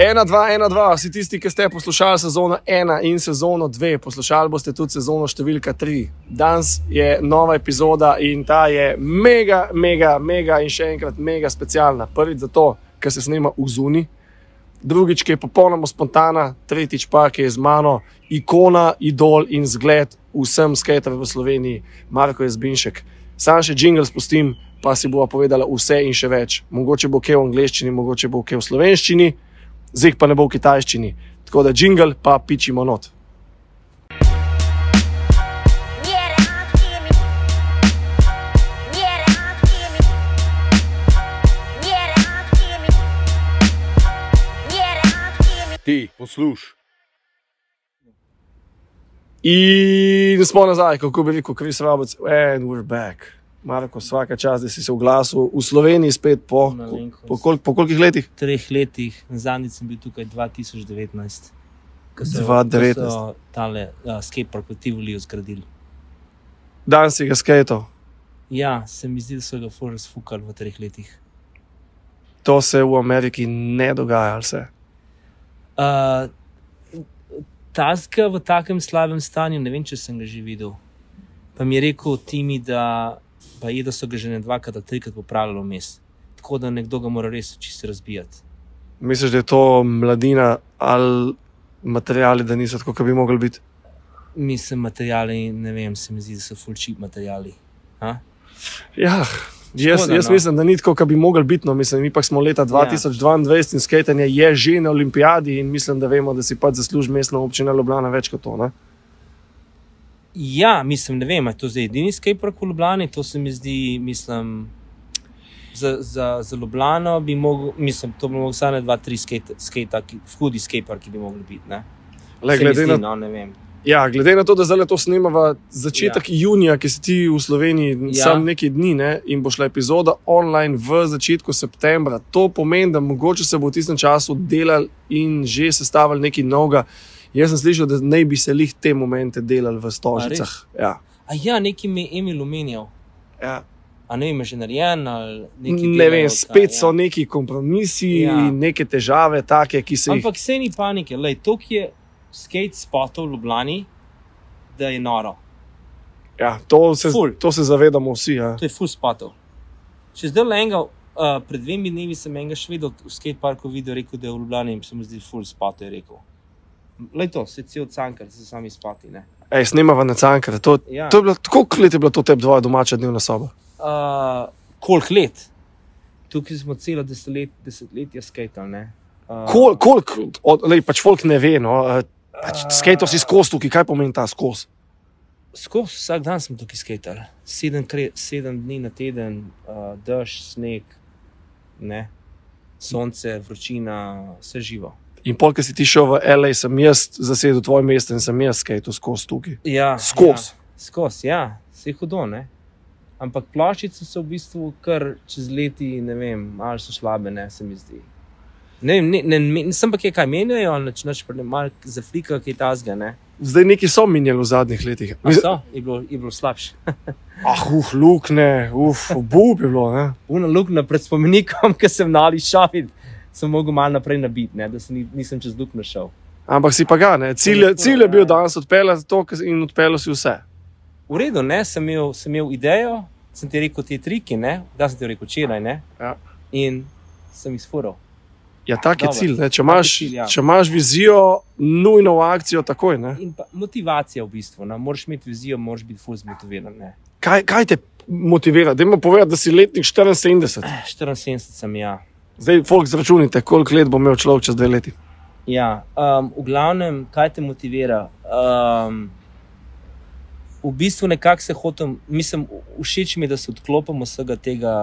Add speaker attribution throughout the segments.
Speaker 1: Ena, dva, ena, dva, vsi tisti, ki ste poslušali sezono ena in sezono dve, poslušali boste tudi sezono številka tri. Danes je nova epizoda in ta je mega, mega, mega in še enkrat mega specialna. Prvič zato, ker se snema v zuni, drugič, ki je popolnoma spontana, tretjič pa, ki je z mano ikona, idol in zgled vsem skaterjem v Sloveniji, Marko Jezbinšek. Sam še jingle spustim, pa si bova povedala vse in še več. Mogoče bo kje v angleščini, mogoče bo kje v slovenščini, zdaj pa ne bo v kitajščini. Tako da jingle pa pičimo not.
Speaker 2: Ti, posluš.
Speaker 1: In smo nazaj, kako bi rekel Kris Roberts, and we're back. Marko, vsaka čas, da si se oglasil v Sloveniji spet po,
Speaker 3: Malenkost.
Speaker 1: po, kol, po kolikih letih?
Speaker 3: treh letih, zadnjič sem bil tukaj 2019, ko so,
Speaker 1: 2019.
Speaker 3: ko so tale uh, skatepark v Tivoliu zgradili.
Speaker 1: Danes si ga skatal.
Speaker 3: Ja, se mi zdi, da so ga furz fukali v treh letih.
Speaker 1: To se v Ameriki ne dogaja, ali se.
Speaker 3: Uh, Taska v takem slabem stanju, ne vem, če sem ga že videl. Pa mi je rekel Timi, da, pa je, da so ga že ne dvakrat, ali trikrat popravili vmes. Tako da nekdo ga mora res čisto razbijati.
Speaker 1: Misliš, da je to mladina ali materijali, da niso tako, kot bi mogli biti?
Speaker 3: Mislim, materijali, ne vem, se mi zdi, da so fulči materijali. Ha?
Speaker 1: Ja, jaz,
Speaker 3: Škoda,
Speaker 1: jaz
Speaker 3: no. Ja.
Speaker 1: mislim, da ni tako, kot bi mogli biti. No, mislim, mi pa smo leta 2022 in skajtanje je že na olimpijadi in mislim, da vemo, da si pač zasluži mestna občina Ljubljana več kot to. Ne?
Speaker 3: Ja, mislim, ne vem, ali je to zdaj edini skatepark v Ljubljani, to se mi zdi, mislim, za, za, za Ljubljano bi mogel, mislim, to bi mogel sane dva, tri skate, skate, hudi skateparki bi mogli biti. Ne?
Speaker 1: Le,
Speaker 3: se mi
Speaker 1: glede,
Speaker 3: zdi,
Speaker 1: na,
Speaker 3: no, ne vem.
Speaker 1: ja, glede na to, da zdaj to snemamo začetek ja. junija, ki si ti v Sloveniji ja.
Speaker 3: Ja.
Speaker 1: sam nekaj dni ne, in bo šla epizoda online v začetku septembra. To pomeni, da mogoče se bo v tistem času delal in že sestavljal nekaj novega. Jaz sem slišal, da naj bi se lih te momente delali v Stožicah. Ja.
Speaker 3: A ja, neki mi je Emil omenjal,
Speaker 1: Ja.
Speaker 3: a ne vem, je že narejen ali ja. nekaj.
Speaker 1: Ne
Speaker 3: delajo,
Speaker 1: vem,
Speaker 3: ali
Speaker 1: spet
Speaker 3: kaj,
Speaker 1: so neki kompromisi ja.
Speaker 3: Ja.
Speaker 1: in neke težave, take, ki se jih
Speaker 3: Ampak se ni panike, le to, ki je skate spotov v Ljubljani, da je noro.
Speaker 1: Ja, to, se,
Speaker 3: Ful.
Speaker 1: to se zavedamo vsi. Ja.
Speaker 3: To je full spotov. Še zdaj le enega, uh, pred dvemi dnevi sem enega švedov v skateparku videl, rekel, da je v Ljubljani in se mu zdi full spotov, je rekel. Lej to, se cel cankar, se sami spati. Ne?
Speaker 1: Ej, snemava na cankare. To,
Speaker 3: Ja.
Speaker 1: to je bilo, koliko let je bila to tebi dvoja domača dnevna soba?
Speaker 3: Uh, koliko let? Tukaj smo celo desetlet, desetletja skateali, ne? Uh,
Speaker 1: Kol, kolik, od, lej, pač folk ne ve, no, eh, pač
Speaker 3: Ah.
Speaker 1: skajto si skozi tukaj, kaj pomeni ta skozi.
Speaker 3: Skozi vsak dan smo tukaj skateali, sedem, kre- sedem dni na teden, uh, dež, sneg, ne? sonce, vročina, vse živo.
Speaker 1: In pol, ki si ti šel v L.A., sem jaz zasedel tvoje mesto in sem jaz skajto skozi tukaj.
Speaker 3: Ja,
Speaker 1: Skozi.
Speaker 3: Ja, skozi, ja, se hudo, ne. Ampak ploščice so v bistvu kar čez leti, ne vem, ali so slabe, ne se mi zdi. Ne, vem, ne, ne, ne, nisem pa kaj, kaj menjajo, noč noč premal za frika, ki je tazga, ne.
Speaker 1: Zdaj neki so minjali v zadnjih letih.
Speaker 3: A So, je bilo, je bilo slabše.
Speaker 1: Ah, uh, lukne, uf, bub je bilo. Ne?
Speaker 3: Uno luknjo pred spomenikom, ki sem nali šavit, sem mogel malo naprej nabiti, ne, da se ni, nisem čez luknjo šel.
Speaker 1: Ampak si pa ga, ne. Cilj, je-
Speaker 3: Lepo,
Speaker 1: cilj je bil
Speaker 3: ja.
Speaker 1: danes odpeljati to kar- in odpeljal si vse.
Speaker 3: V redu, ne, sem imel, sem imel idejo, sem ti rekel te trike, ne, da sem ti rekel včeraj, ne.
Speaker 1: Ja.
Speaker 3: In sem jih sforal.
Speaker 1: Ja, tak je
Speaker 3: Dobro.
Speaker 1: cilj. Ne. Če
Speaker 3: je
Speaker 1: imaš,
Speaker 3: cilj, ja.
Speaker 1: če imaš vizijo, nujno v akcijo takoj. Ne.
Speaker 3: In pa motivacija v bistvu, ne? moraš imeti vizijo, moraš biti fuz motiviran. ne.
Speaker 1: Kaj, kaj te motivira? Dajmo povedati, da si letnik 74.
Speaker 3: 74 Eh, sem ja.
Speaker 1: Zdaj, folk, zračunite, koliko let bo imel človek čez dve leti.
Speaker 3: ja um, v glavnem, kaj te motivira? Um, v bistvu nekako se hodim, mislim, v- všeč mi je, da se odklopim vsega tega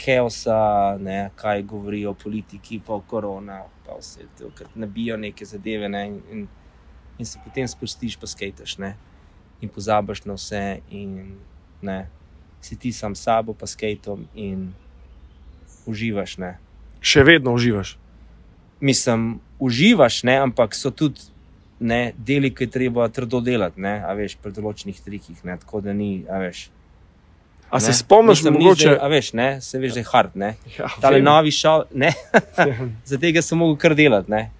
Speaker 3: keosa, ne, kaj govorijo politiki, pa korona, pa vse to, kar nabijo neke zadeve. Ne, in, in, in se potem spustiš, pa skajtaš. Ne, in pozabiš na vse, in ne, si ti sam s sabo, pa skajtom in uživaš. Ne
Speaker 1: Še vedno uživaš.
Speaker 3: mislim, uživaš, ne, ampak so tudi ne, deli, ki je treba trdo delati, ne, a veš, pri določenih trikih, ne, tako da ni, a veš.
Speaker 1: A se spomniš,
Speaker 3: Mislim, ni
Speaker 1: mogoče?
Speaker 3: Zdaj, a veš, ne, se veš, da je hard. Ne?
Speaker 1: Ja,
Speaker 3: Tale
Speaker 1: vem.
Speaker 3: novi šov, ne, za tega sem mogel kar delati. ne.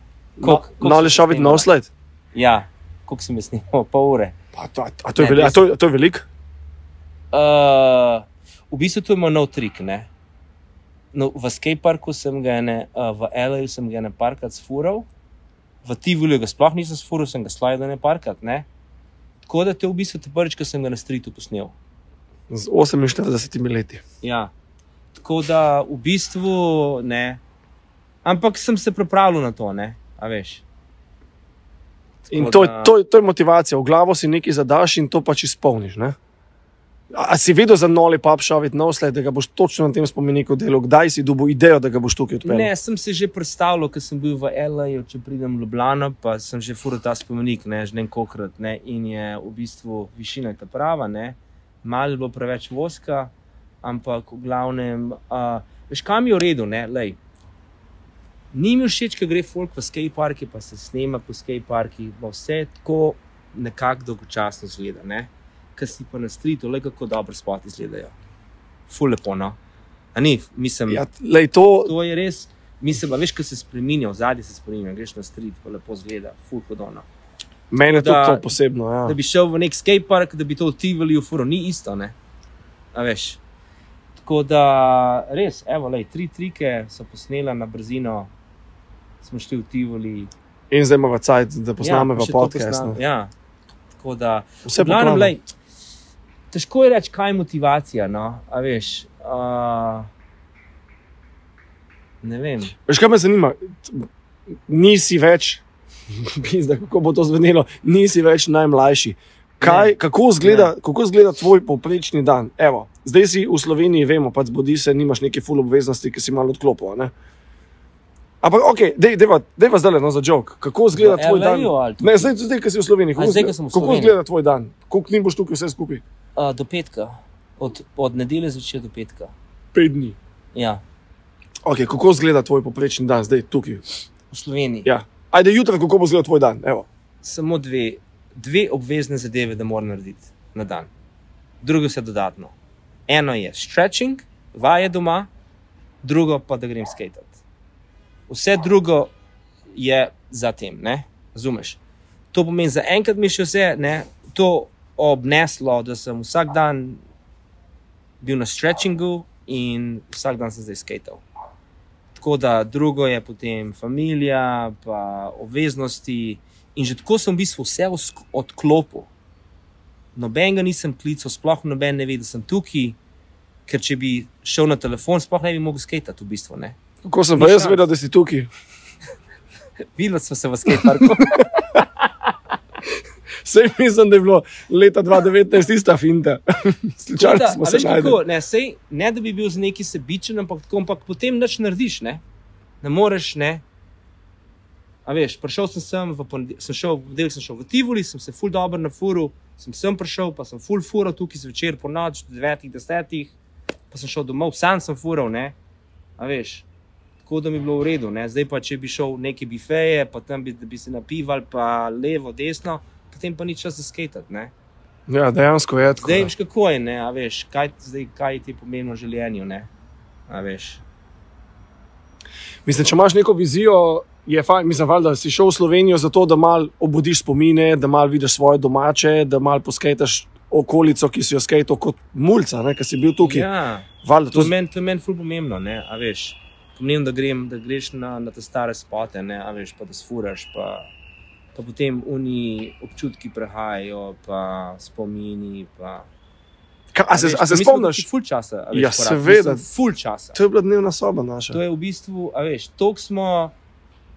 Speaker 3: Koliko- koliko
Speaker 1: Nali
Speaker 3: sem
Speaker 1: šovit
Speaker 3: snimal?
Speaker 1: nov sled.
Speaker 3: Ja, koliko sem jaz snimal, pol ure.
Speaker 1: Pa, to, a, to je
Speaker 3: Ne,
Speaker 1: veli, a,
Speaker 3: res.
Speaker 1: to, je- a to je velik?
Speaker 3: Uh, v bistvu to ima nov trik. Ne? No, v skateparku sem ga ene, uh, v L.A.U. sem ga ne parkrat sfural, v Tivoli ga sploh nisem sfural, sem ga slajdo ne parkrat. Ne? Tako da to je v bistvu te prvič, ko sem ga na streetu posnel.
Speaker 1: Z 48 leti.
Speaker 3: Ja. Tako da v bistvu ne. Ampak sem se pripravljal na to, ne. A veš.
Speaker 1: In
Speaker 3: Tako
Speaker 1: to, je-
Speaker 3: da-
Speaker 1: to, je- to je motivacija, v glavo si nekaj zadaš in to pač izpolniš. Ne? A, a si vedel za noli pub šovit nov sled, da ga boš točno na tem spomeniku delal? Kdaj si dobil idejo, da ga boš tukaj odpeljal?
Speaker 3: Ne, sem si že predstavljal, ker sem bil v L.A.U., če pridem v Ljubljano, pa sem že fural ta spomenik, ne, že en kokrat. Ne, in je v bistvu višina ta prava, ne. malo je bilo preveč voska, ampak v glavnem, uh, veš, kam je v redu, ne, lej. Ni mi všeč, ker gre folk v skateparki, pa se snema po skateparkih, pa vse tako nekako dolgočasno zgleda, ne. Ker si pa na streetu, le kako dobro spoti izgledajo. Ful lepo, no. A ni, mislim
Speaker 1: Ja, lej, to,
Speaker 3: to je res. Mislim, a veš, ko se spremenja, zadnji se spremenja, greš na street, pa lepo zgleda, full hodona.
Speaker 1: Meni je
Speaker 3: Da-
Speaker 1: tudi to posebno. Ja.
Speaker 3: Da bi šel v nek skatepark, da bi to utivali v furo, ni isto, ne. A veš. Tako da res, evo, lej, tri trike so posnela na brzino, smo šli v Tivoli.
Speaker 1: In zdaj imamo cajt, da
Speaker 3: Ja,
Speaker 1: posnamemo
Speaker 3: pa
Speaker 1: ja,
Speaker 3: še to
Speaker 1: podcast.
Speaker 3: posnam-
Speaker 1: ne.
Speaker 3: Ja, tako da.
Speaker 1: Vse
Speaker 3: V glavnem,
Speaker 1: poklame.
Speaker 3: lej, težko je reči, kaj je motivacija. No? a Veš, uh, ne vem.
Speaker 1: Veš, kaj me zanima? T- Nisi več, pizda, kako bo to zvenelo, nisi več najmlajši. Kaj,
Speaker 3: Ne.
Speaker 1: kako, izgleda, kako izgleda tvoj povprečni dan? Evo, zdaj si v Sloveniji, vemo, pač zbudi se, nimaš neke full obveznosti, ki si malo odklopil. a ne? Ampak, ok, da je zdaj le no, za jok. Kako izgleda
Speaker 3: V
Speaker 1: tvoj dan?
Speaker 3: LA-ju Ja, ali tukaj?
Speaker 1: Ne, zdaj, zdaj, ki si v Sloveniji, kako,
Speaker 3: zdaj, ko
Speaker 1: izgleda-
Speaker 3: sem v
Speaker 1: kako
Speaker 3: Sloveniji?
Speaker 1: izgleda tvoj dan? Koliko dni boš tukaj vse skupaj?
Speaker 3: Uh, do petka, od, od nedelje zvečer do petka.
Speaker 1: Pet dni.
Speaker 3: Ja,
Speaker 1: Okay, kako izgleda tvoj poprečni dan zdaj tukaj?
Speaker 3: v Sloveniji.
Speaker 1: Ja. Ajde, jutra, kako bo izgledal tvoj dan? Evo.
Speaker 3: Samo dve, dve obvezne zadeve, da moram narediti na dan, drugo vse dodatno. Eno je stretching, vaje doma, drugo pa da grem skatat. Vse drugo je za tem, ne? razumeš? To pomeni, za enkrat mi je še vse ne, to obneslo, da sem vsak dan bil na stretchingu in vsak dan sem zdaj skatal. Tako da drugo je potem družina, pa obveznosti. In že tako sem v bistvu vse osk- odklopil. Nobenega nisem klical, sploh noben ne ve, da sem tukaj, ker če bi šel na telefon, sploh ne bi mogel sketati. V bistvu, ne.
Speaker 1: Kako sem pa
Speaker 3: Ni
Speaker 1: jaz
Speaker 3: šans.
Speaker 1: vedel, da si tukaj?
Speaker 3: Videla sem se v skateparku.
Speaker 1: Sej mislim, da je bilo leta 2019 ista finta.
Speaker 3: Tako
Speaker 1: Slučajno
Speaker 3: da,
Speaker 1: smo
Speaker 3: a
Speaker 1: se
Speaker 3: veš
Speaker 1: našli.
Speaker 3: kako, ne, sej, ne da bi bil z neki sebičen, ampak, tako, ampak potem nič narediš. Ne, ne moreš. Ne. A veš, prišel sem sem, v ponedeljek sem šel, v ponedeljek sem šel v Tivoli, sem se ful dobro na furu, sem sem prišel, pa sem ful furo tukaj zvečer po noč, do 9, 10, pa sem šel domov, sam sem fural, ne. A veš, tako da mi je bilo v redu, ne. Zdaj pa, če bi šel v neke bifeje, pa tam bi, da bi se napival, pa levo, desno, potem pa ni čas za skatati, ne.
Speaker 1: Ja, dejansko je tako.
Speaker 3: Zdaj
Speaker 1: ja.
Speaker 3: veš, kako je, ne, a veš, kaj, zdaj, kaj ti je pomembno v življenju. Ne? a veš.
Speaker 1: Mislim, če imaš neko vizijo, je fajn, mislim, valjda, da si šel v Slovenijo zato, da mal obudiš spomine, da mal vidiš svoje domače, da mal poskajtaš okolico, ki si jo skajal kot mulca, ne, ki si bil tukaj. Ja,
Speaker 3: Ja,
Speaker 1: valjda,
Speaker 3: to
Speaker 1: to
Speaker 3: je meni men ful pomembno, ne, a veš. Pomembno, da, grem, da greš na, na te stare spote, ne, a veš, pa da sfuraš, pa, pa potem oni občutki prehajajo, pa spomini. Pa,
Speaker 1: Ka, a, se,
Speaker 3: veš,
Speaker 1: a se
Speaker 3: mi smo
Speaker 1: spomniš?
Speaker 3: tukaj Ful časa. a
Speaker 1: Ja,
Speaker 3: veš, korak. Mi
Speaker 1: seveda.
Speaker 3: smo Ful časa.
Speaker 1: To je bila dnevna soba naša.
Speaker 3: To je v bistvu, a veš, toliko smo,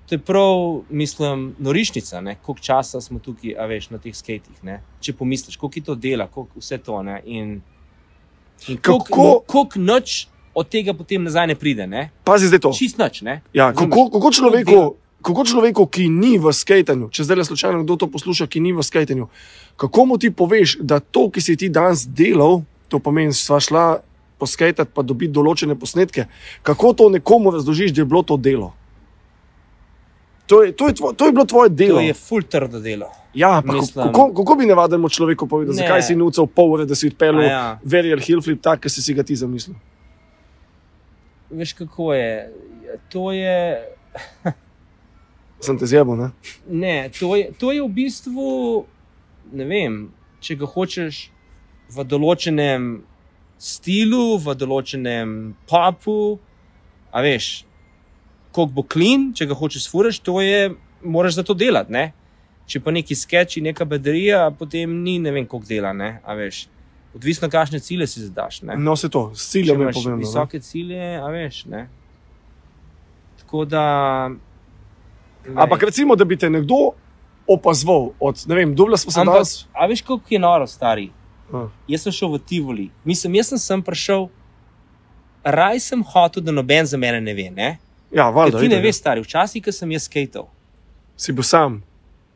Speaker 3: to je prav, mislim, norišnica, ne, koliko časa smo tukaj, a veš, na teh skatih. Ne. Če pomisliš, koliko je to dela, koliko vse to. Ne, in, in
Speaker 1: Kako-
Speaker 3: koliko kolik noč od tega potem nazaj ne pride, ne?
Speaker 1: Pazi zdaj to.
Speaker 3: čist noč. Ne?
Speaker 1: Ja,
Speaker 3: Razumeš?
Speaker 1: kako, kako,
Speaker 3: dela.
Speaker 1: človeku, kako človeku, ki ni v skajtanju, če zdaj le slučajno kdo to posluša, ki ni v skajtanju, kako mu ti poveš, da to, ki si ti danes delal, to pomeni, sva šla poskajati pa dobiti določene posnetke, kako to nekomu razložiš, da je bilo to delo? To je, to, je tvo, to je bilo tvoje delo.
Speaker 3: To je ful trdo delo.
Speaker 1: Ja, ampak
Speaker 3: Mislim-
Speaker 1: kako, kako bi navadnemu človeku povedal,
Speaker 3: Ne.
Speaker 1: zakaj si nucal pol ure, da si odpeljal
Speaker 3: A
Speaker 1: ja.
Speaker 3: ja.
Speaker 1: verjel Hillflip, tako kot si si ga ti zamislil?
Speaker 3: Veš kako je? To je,
Speaker 1: Sem te zjebil, ne?
Speaker 3: ne, to je, to je v bistvu, ne vem, če ga hočeš v določenem stilu, v določenem papu, a veš, koliko bo klin, če ga hočeš furaš, to je, moraš za to delati. Ne? Če pa neki sketchi, neka bedarija, potem ni ne vem, koliko dela, ne? a veš. Odvisno, kakšne cilje si zadaš. Ne?
Speaker 1: No, se to, s
Speaker 3: Če
Speaker 1: ciljem je no.
Speaker 3: imaš
Speaker 1: pomembno. ne?
Speaker 3: visoke cilje, a veš. Ne? Tako da. glej,
Speaker 1: Ampak recimo, da bi te nekdo opazoval od, ne vem, dubla smo se
Speaker 3: ampak,
Speaker 1: danes.
Speaker 3: a veš, kako je noro, stari.
Speaker 1: Ja.
Speaker 3: Jaz sem šel v Tivoli, mislim, jaz sem sem prišel, raj sem hotel, da noben za mene ne ve. Ne?
Speaker 1: Ja,
Speaker 3: Ker
Speaker 1: valjda.
Speaker 3: ti ne
Speaker 1: itak,
Speaker 3: veš, stari, včasih, ko sem jaz skatal.
Speaker 1: Si bil sam.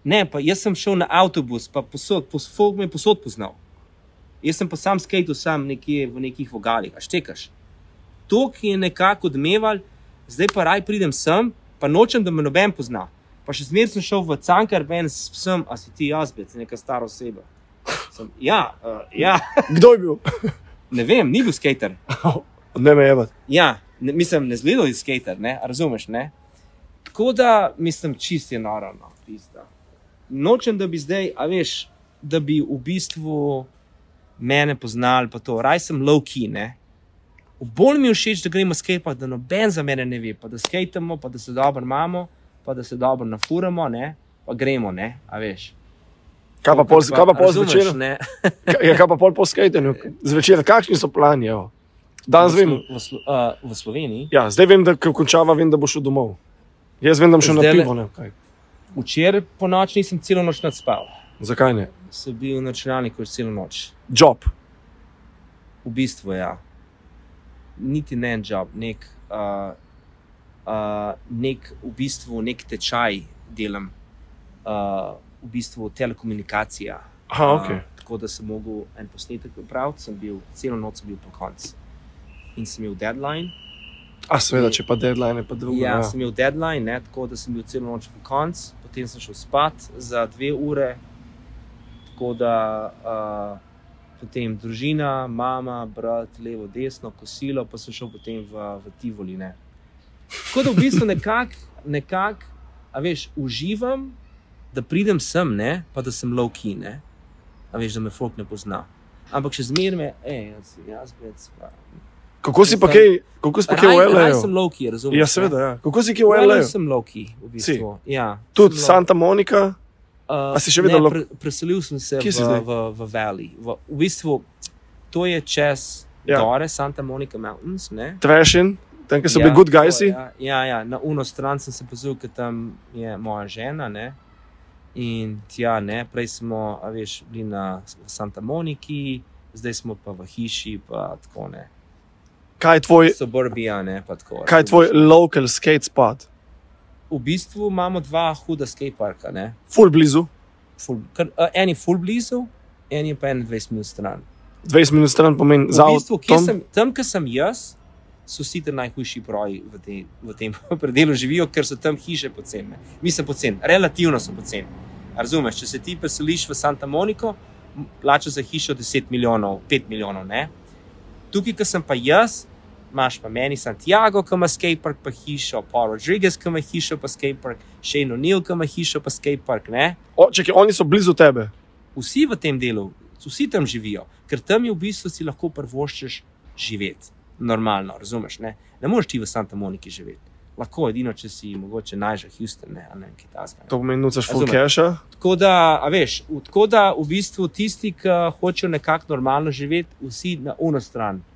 Speaker 3: Ne, pa jaz sem šel na avtobus, pa posod, pos, folk me je posod poznal. Jaz sem pa sam skatil, sam nekje v nekih vogalih, a štekaš. To, ki je nekako odmeval, zdaj pa raj pridem sem, pa nočem, da me noben pozna. Pa še zmeraj sem šel v Cankar, ven s psom, a si ti jazbec, neka stara oseba. Sem, ja, uh, ja,
Speaker 1: Kdo je bil?
Speaker 3: ne vem, ni bil skater.
Speaker 1: ne me jebati.
Speaker 3: Ja, ne, mislim, ne zgledal je skater, ne, a razumeš, ne? Tako da, mislim, čist je naravno, pizda. Nočem, da bi zdaj, a veš, da bi v bistvu mene poznali, pa to, raj sem low key, ne. Bolj mi je všeč, da gremo skate, da noben za mene ne ve, pa da skatemo, pa da se dobro imamo, pa da se dobro nafuramo, ne, pa gremo, ne, a veš.
Speaker 1: Kaj pa pol, kaj pa pol
Speaker 3: Razumeš,
Speaker 1: zvečer?
Speaker 3: ne?
Speaker 1: Kaj- Ja, kaj pa pol po skatenju? Zvečer, kakšni so plani? evo? Danes
Speaker 3: V
Speaker 1: vem.
Speaker 3: Slo- V, Slo- a, v Sloveniji.
Speaker 1: Ja, zdaj vem, da ko končava, vem, da bo šel domov. Jaz vem, da bom šel na
Speaker 3: Zdajle-
Speaker 1: pivo. Ne? Kaj?
Speaker 3: Včeraj po noči nisem celo noč nadspal.
Speaker 1: Zakaj ne?
Speaker 3: sem bil na računalniku celo noč.
Speaker 1: Job.
Speaker 3: V bistvu, ja. Niti ne en job, nek, uh, uh, nek, v bistvu, nek tečaj delam, uh, v bistvu telekomunikacija.
Speaker 1: Aha, ok.
Speaker 3: Uh, tako da sem mogel en posnetek pripraviti, sem bil celo noč sem bil po koncu. In sem imel deadline.
Speaker 1: A seveda, če pa deadline, je pa drugo.
Speaker 3: Ja,
Speaker 1: Ja,
Speaker 3: sem imel deadline, ne, tako da sem bil celo noč po koncu, potem sem šel spat za dve ure. Tako da uh, potem družina, mama, brat, levo, desno, kosilo, pa sem šel potem v, v Tivoli. Ne. Tako da v bistvu nekako, nekak, a veš, uživam, da pridem sem, ne, pa da sem low key, ne, a veš, da me folk ne pozna. Ampak še zmeraj me, hej, jaz, jaz, jaz, jaz.
Speaker 1: kako si pa
Speaker 3: Mislim,
Speaker 1: kaj, kako si pa kaj v
Speaker 3: Jaz
Speaker 1: L.A.?
Speaker 3: sem low key, razumem.
Speaker 1: Ja, seveda, ja. Kako si kaj v L.A.?
Speaker 3: Well, sem Loki, v bistvu. Ja,
Speaker 1: Tudi
Speaker 3: sem low-
Speaker 1: Santa Monica.
Speaker 3: Uh,
Speaker 1: A si še vedno
Speaker 3: ne,
Speaker 1: lo-
Speaker 3: pre, preselil sem se
Speaker 1: Kje
Speaker 3: v,
Speaker 1: si zdaj?
Speaker 3: v, v Valley. V, v bistvu to je čez
Speaker 1: Ja.
Speaker 3: ja. Dore, Santa Monica Mountains. Ne?
Speaker 1: Trashin, tam, kjer so bili good
Speaker 3: to,
Speaker 1: guysi.
Speaker 3: Ja, ja, ja, na uno stran sem se pozval, ker tam je moja žena. Ne? In tja, ne, prej smo, a veš, bili na S- v Santa Moniki, zdaj smo pa v hiši, pa tako ne.
Speaker 1: Kaj je tvoj,
Speaker 3: Suburbija, ne, pa tako.
Speaker 1: kaj je tvoj
Speaker 3: razumeš.
Speaker 1: local skate spot?
Speaker 3: V bistvu imamo dva huda skateparka, ne.
Speaker 1: Full blizu,
Speaker 3: ful, kar, a, en je full blizu, en je pa 21 minut stran.
Speaker 1: 20 minut stran pomeni za
Speaker 3: V bistvu, kje
Speaker 1: avtom.
Speaker 3: sem, tam, kjer sem jaz, so vsi ti najhujši proji v, te, v tem predelu živijo, ker so tam hiše poceni. Mi smo poceni, relativno so poceni. A Razumeš, če se ti preseliš v Santa Moniko, m, plačaš za hišo 10 milijonov, 5 milijonov. Ne? Tukaj, kjer sem pa jaz, imaš pa meni Santiago, ki ima skatepark, pa hišo, pa Rodriguez, ki ima hišo, pa skatepark, Shane O'Neill, ki ima hišo, pa skatepark. Ne?
Speaker 1: O, čakaj, oni so blizu tebe.
Speaker 3: vsi v tem delu, vsi tam živijo, ker tam je v bistvu si lahko prvoščeš živeti. Normalno, razumeš? Ne, ne moreš ti v Santa Moniki živeti. Lahko edino, če si mogoče najžal Houston, ne, ali ne Kitajska.
Speaker 1: To pomeni, nucaš full
Speaker 3: Razumem.
Speaker 1: cache.
Speaker 3: Tako da, a veš, v- tako da v bistvu tisti, ki hočejo nekako normalno živeti, vsi na uno stran ne,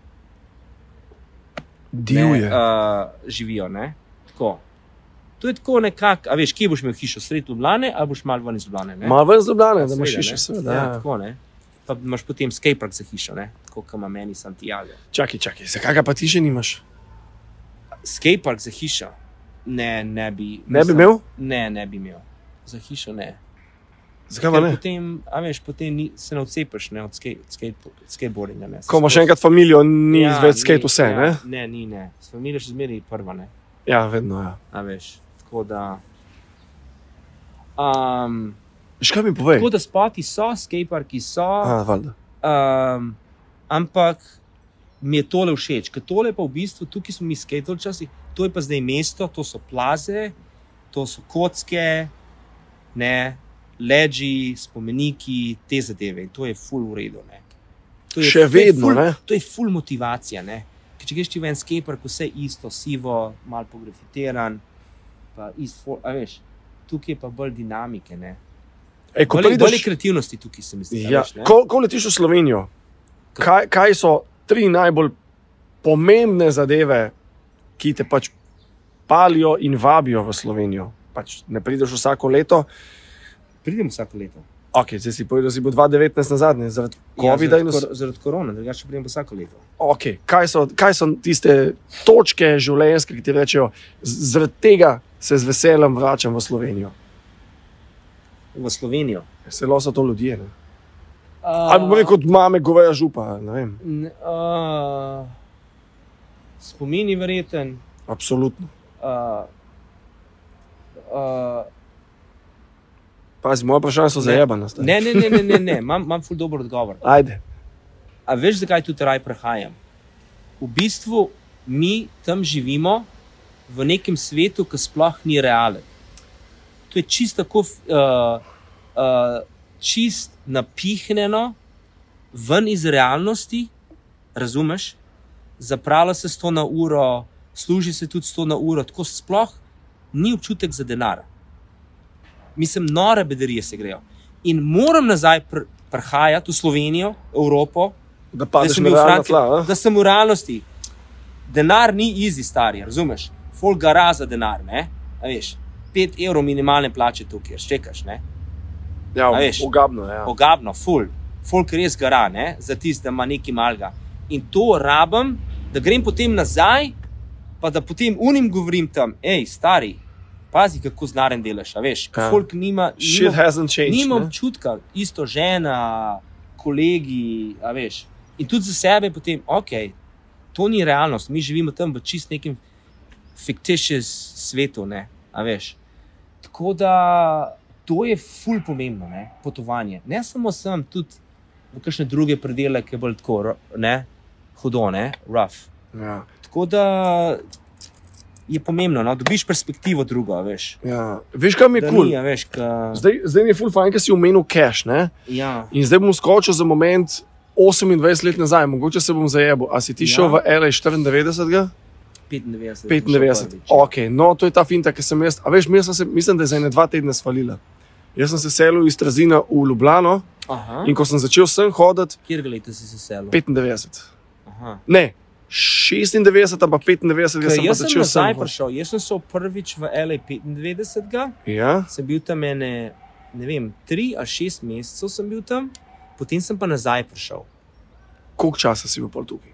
Speaker 1: Divje.
Speaker 3: uh, živijo. Ne? Tako. To je tako nekako, a veš, kje boš imel hišo, sredi Ljubljana ali boš malo ven iz Ljubljana. ne?
Speaker 1: Malo ven z Ljubljana, da imaš
Speaker 3: Seveda,
Speaker 1: še
Speaker 3: ne.
Speaker 1: seveda.
Speaker 3: Ja,
Speaker 1: ja.
Speaker 3: tako ne. Pa imaš potem skatepark za hišo, ne? tako kot ima meni Santiago.
Speaker 1: Čakaj, čakaj, zakaj ga pa ti še nimaš?
Speaker 3: Skatepark za hišo ne, ne bi.
Speaker 1: Ne bi
Speaker 3: mislim,
Speaker 1: imel?
Speaker 3: Ne, ne bi imel. Za hišo ne.
Speaker 1: Zakaj pa
Speaker 3: Ker
Speaker 1: ne?
Speaker 3: Potem, a veš, potem ni, se ne odcepiš ne, od, skate, od skate, skateboardinga. Ne,
Speaker 1: Ko imaš še enkrat familijo, ni ja, več skate vse,
Speaker 3: ja,
Speaker 1: ja. ne?
Speaker 3: Ne, ni, ne. Familija še zmeraj prva, ne.
Speaker 1: Ja, vedno. Ja.
Speaker 3: A veš, tako da. Um,
Speaker 1: Še kaj mi povej?
Speaker 3: tako da spoti so, skateparki so,
Speaker 1: Ah, valjda.
Speaker 3: um, ampak mi je tole všeč, ker tole pa v bistvu tukaj smo mi skatali včasih, to je pa zdaj mesto, to so plaze, to so kocke, ne, leži, spomeniki, te zadeve. In to je full uredu.
Speaker 1: Še vedno,
Speaker 3: to je ful,
Speaker 1: ne?
Speaker 3: To je full motivacija. Ne? Ker če greš ti v en skatepark, vse isto, sivo, malo pografitiran, pa isto, a veš, tukaj je pa bolj dinamike. Ne?
Speaker 1: Ej, ko
Speaker 3: Bolj, bolj je
Speaker 1: prideš,
Speaker 3: kreativnosti tukaj, se mi zdi. a
Speaker 1: ja,
Speaker 3: veš, ne.
Speaker 1: ko, ko letiš v Slovenijo, kaj, kaj so tri najbolj pomembne zadeve, ki te pač palijo in vabijo v Slovenijo? Pač ne prideš vsako leto.
Speaker 3: Pridem vsako leto.
Speaker 1: Ok, zdaj si povedal, da si bo 2019 na zadnje, zaradi COVID-a
Speaker 3: ja,
Speaker 1: in vse.
Speaker 3: zaradi, kor, zaradi korona, drugače pridem vsako leto.
Speaker 1: Okay, kaj, so, kaj so tiste točke življenjske, ki ti rečejo, "Z- zaradi tega se z veseljem vračam v Slovenijo?
Speaker 3: V Slovenijo.
Speaker 1: Zelo so to ljudje. Ne?
Speaker 3: Uh,
Speaker 1: Ali pa rekel, kot mame, goveja župa. ne vem.
Speaker 3: Uh, spomini verjeten.
Speaker 1: Absolutno.
Speaker 3: Uh, uh,
Speaker 1: Pazi, moje vprašanje so zajebane. stari.
Speaker 3: ne, ne, ne, ne, ne, ne. imam, imam ful dober odgovor.
Speaker 1: Ajde.
Speaker 3: A veš, zakaj tudi raj prehajam? V bistvu mi tam živimo v nekem svetu, ki sploh ni realen. To je čisto tako, uh, uh, čist napihnjeno, ven iz realnosti, razumeš? Zapravlja se 100 na uro, služi se tudi 100 na uro, tako sploh ni občutek za denar. Mislim, nore bedarije se grejo. In moram nazaj pr prihajati v Slovenijo, Evropo,
Speaker 1: Da
Speaker 3: da
Speaker 1: padeš
Speaker 3: sem
Speaker 1: na
Speaker 3: bil v
Speaker 1: realna
Speaker 3: Franciji,
Speaker 1: tla. a?
Speaker 3: da sem v realnosti. Denar ni easy, stari, razumeš? Folk gara za denar, ne? A veš, 5 evrov minimalne plače tukaj, štekaš, ne?
Speaker 1: Ja,
Speaker 3: A veš?
Speaker 1: ogabno je. Ja.
Speaker 3: Ogabno, full, folk res gara, ne? Za tist, da ima neki malga. In to rabim, da grem potem nazaj, pa da potem unim govorim tam, hej, stari, pazi, kako znaren delaš, a veš?
Speaker 1: Ja.
Speaker 3: Ja. Folk nima,
Speaker 1: Shit
Speaker 3: nima,
Speaker 1: hasn't changed.
Speaker 3: nima
Speaker 1: Nimam.
Speaker 3: občutka, isto žena, kolegi, a veš. In tudi za sebe potem, ok, to ni realnost, mi živimo tam v čist nekem fiktivnem svetu, ne, a veš. Tako da to je ful pomembno, ne, potovanje. Ne samo sem, tudi v kakšne druge predele, ki je bolj tako, ro- ne, hudo, ne, rough.
Speaker 1: Ja.
Speaker 3: Tako da je pomembno, no, dobiš perspektivo drugo, a veš.
Speaker 1: Ja. Veš, kam je
Speaker 3: Da
Speaker 1: kul?
Speaker 3: ni,
Speaker 1: Cool?
Speaker 3: a veš, ka,
Speaker 1: Zdaj, zdaj mi je ful fajn, ker si omenil cash. Ne?
Speaker 3: ja.
Speaker 1: In zdaj bom skočil za moment 28 let nazaj, mogoče se bom zajebil. A si ti
Speaker 3: Ja.
Speaker 1: ja. šel v LA 94?
Speaker 3: 95.
Speaker 1: 95,
Speaker 3: ok.
Speaker 1: ok, no to je ta finta, ki sem jaz. A veš, mi smo se, mislim, da je za ene dva tedna svalila. Jaz sem se selil iz Trazina v Ljubljano
Speaker 3: Aha.
Speaker 1: in ko sem začel sem hoditi,
Speaker 3: Kjer ga leta si se selil?
Speaker 1: 95,
Speaker 3: Aha.
Speaker 1: ne 96, ampak 95,
Speaker 3: Ker
Speaker 1: jaz sem pa
Speaker 3: jaz sem
Speaker 1: začel
Speaker 3: nazaj
Speaker 1: sem. hoditi.
Speaker 3: prišel, jaz sem šel prvič v L95,
Speaker 1: Ja,
Speaker 3: sem bil tam ene, ne vem, tri ali šest mesecev sem bil tam, potem sem pa nazaj prišel.
Speaker 1: koliko časa si bil pol tukaj?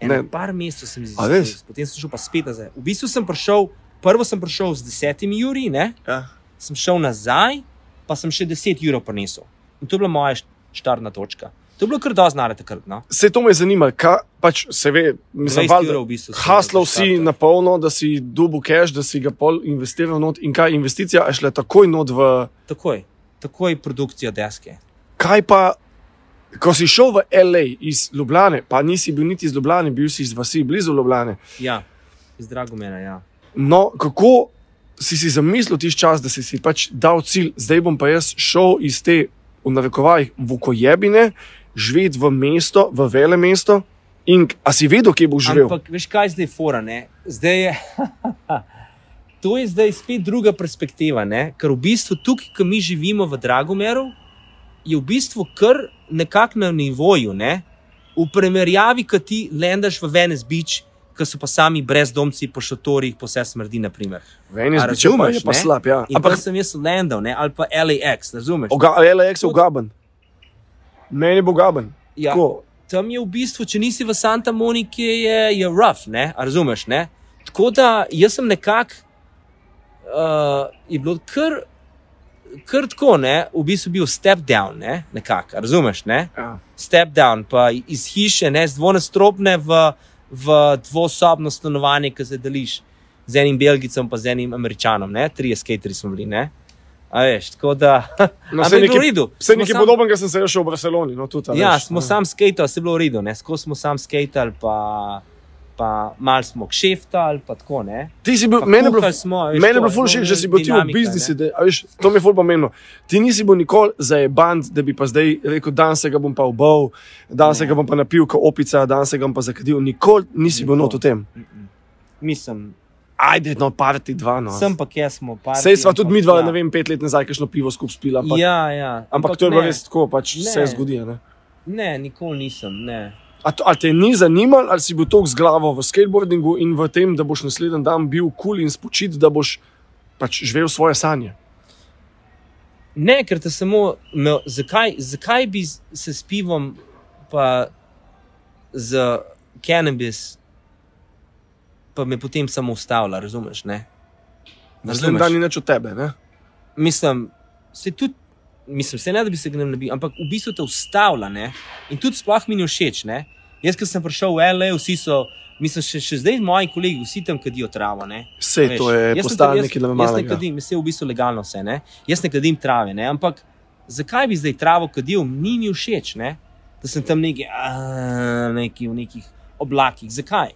Speaker 3: Eno
Speaker 1: Ne.
Speaker 3: par mesecev sem
Speaker 1: A
Speaker 3: izgubil,
Speaker 1: res?
Speaker 3: potem sem šel pa spet nazaj. V bistvu sem prišel, prvo sem prišel z desetimi juri, ne?
Speaker 1: Ja.
Speaker 3: sem šel nazaj, pa sem še deset jurov prinesel. In to je bila moja št- štartna točka. To je bilo kar dosti znare takrat. No?
Speaker 1: Se to me zanima, kaj pač se ve, mislim,
Speaker 3: 20
Speaker 1: valjda-
Speaker 3: jurov v bistvu sem
Speaker 1: Haslov
Speaker 3: za
Speaker 1: si
Speaker 3: štarter.
Speaker 1: na polno, da si dubu cache, da si ga pol investiral not in kaj investicija je šla takoj not v
Speaker 3: Takoj, takoj produkcija deske.
Speaker 1: Kaj pa, ko si šel v L.A. iz Ljubljana, pa nisi bil niti iz Ljubljana, bil si iz vasi blizu Ljubljana.
Speaker 3: Ja, iz Dragomena. Ja.
Speaker 1: No, kako si si zamislil tiš čas, da si si pač dal cilj, zdaj bom pa jaz šel iz te, v narekovajih, vukojebine, živeti v mesto, v vele mesto. In k- a si vedel, kje bo živel?
Speaker 3: Ampak veš, kaj je zdaj fora? Ne? Zdaj je. to je zdaj spet druga perspektiva, ne? ker v bistvu tukaj, ki mi živimo v Dragomeru, je v bistvu kar nekako na nivoju. Ne? V primerjavi, ki ti lendaš v Venice Beach, ki so pa sami brezdomci po šotorih, po vse smrdi. naprimer.
Speaker 1: Veni
Speaker 3: a
Speaker 1: se če pa je
Speaker 3: razumeš,
Speaker 1: pa
Speaker 3: ne?
Speaker 1: slab, ja.
Speaker 3: In Ampak
Speaker 1: Ampak
Speaker 3: sem jaz landal, ne? ali pa LAX, razumeš?
Speaker 1: LX je ugaben. Meni bo ugaben.
Speaker 3: Ja.
Speaker 1: Tako,
Speaker 3: tam je v bistvu, če nisi v Santa Moniki, je, je rough, ne? a razumeš? Ne? Tako da jaz sem nekako, uh, je bilo kar, kar tako, ne? v bistvu bil step down, ne? nekako, a razumeš? Ne?
Speaker 1: ja.
Speaker 3: Step down, pa iz hiše, ne? z dvonastropne v, v dvosobno stanovanje, ki se deliš z enim Belgicem, pa z enim Američanom, ne? trije skateri smo bili. Ne? A veš, tako da.
Speaker 1: No,
Speaker 3: ampak
Speaker 1: saj
Speaker 3: je bilo
Speaker 1: nekaj-
Speaker 3: v redu.
Speaker 1: Vse
Speaker 3: Smo
Speaker 1: nekaj
Speaker 3: samo-
Speaker 1: podobnega sem se rešil v Barceloni. No, tudi, a
Speaker 3: Ja,
Speaker 1: veš,
Speaker 3: smo
Speaker 1: ne.
Speaker 3: sam skatali, se je bilo v redu, ne? skozi smo sam skatali, pa, pa malo smo kšeftali, pa tako ne.
Speaker 1: Ti si bil,
Speaker 3: Pa
Speaker 1: meni je bilo,
Speaker 3: kuhali smo, a veš,
Speaker 1: meni je
Speaker 3: to
Speaker 1: bilo
Speaker 3: je
Speaker 1: ful
Speaker 3: bilo
Speaker 1: všeč, da si bil ti v
Speaker 3: dinamika,
Speaker 1: biznisu,
Speaker 3: ne.
Speaker 1: da- a veš, to mi je ful pomembno. Ti nisi bil nikoli zajeban, da bi pa zdaj rekel, dan se ga bom pa obal, dan se
Speaker 3: Ne.
Speaker 1: ga bom pa napil kot opica, dan se ga bom pa zakadil. Nikoli nisi bil not v
Speaker 3: Nikoli.
Speaker 1: tem.
Speaker 3: Mislim,
Speaker 1: Ajde, no, parti dva, no.
Speaker 3: sem pa kje smo, pa.
Speaker 1: Sej sva tudi midva, ne vem, pet let nazaj, kakšno pivo skupaj spila. Ampak,
Speaker 3: Ja, ja.
Speaker 1: ampak to je bilo
Speaker 3: ne,
Speaker 1: res tako, pač
Speaker 3: Ne.
Speaker 1: se zgodi. a Ne?
Speaker 3: Ne, nikoli nisem. Ne.
Speaker 1: A, to, a te ni zanimalo, ali si bil tako z glavo v skateboardingu in v tem, da boš naslednji dan bil kul cool in spočit, da boš pač živel svoje sanje.
Speaker 3: ne, ker te samo, me, zakaj, zakaj bi z- se s pivom, pa z kanabis, pa me potem samo ustavlja, razumeš? Ne?
Speaker 1: Naslednji dan ni nič od tebe. Ne?
Speaker 3: mislim, se tudi, mislim, se ne da bi se gnem nabil, ampak v bistvu te ustavlja. Ne? In tudi sploh mi ni všeč. Ne? Jaz, ki sem prišel v L.A., vsi so, mislim, še, še zdaj moji kolegi, vsi tam kadijo travo. Ne?
Speaker 1: Sej
Speaker 3: Veš,
Speaker 1: to je
Speaker 3: jaz sem
Speaker 1: postalo
Speaker 3: tudi- jaz-
Speaker 1: nekaj nam
Speaker 3: Jaz ne
Speaker 1: malega.
Speaker 3: kadim, vse je v bistvu legalno, vse, ne? jaz ne kadim trave, ne? ampak zakaj bi zdaj travo kadil, ni mi všeč, ne? da sem tam nekaj, a, neki, v nekih oblakih. Zakaj?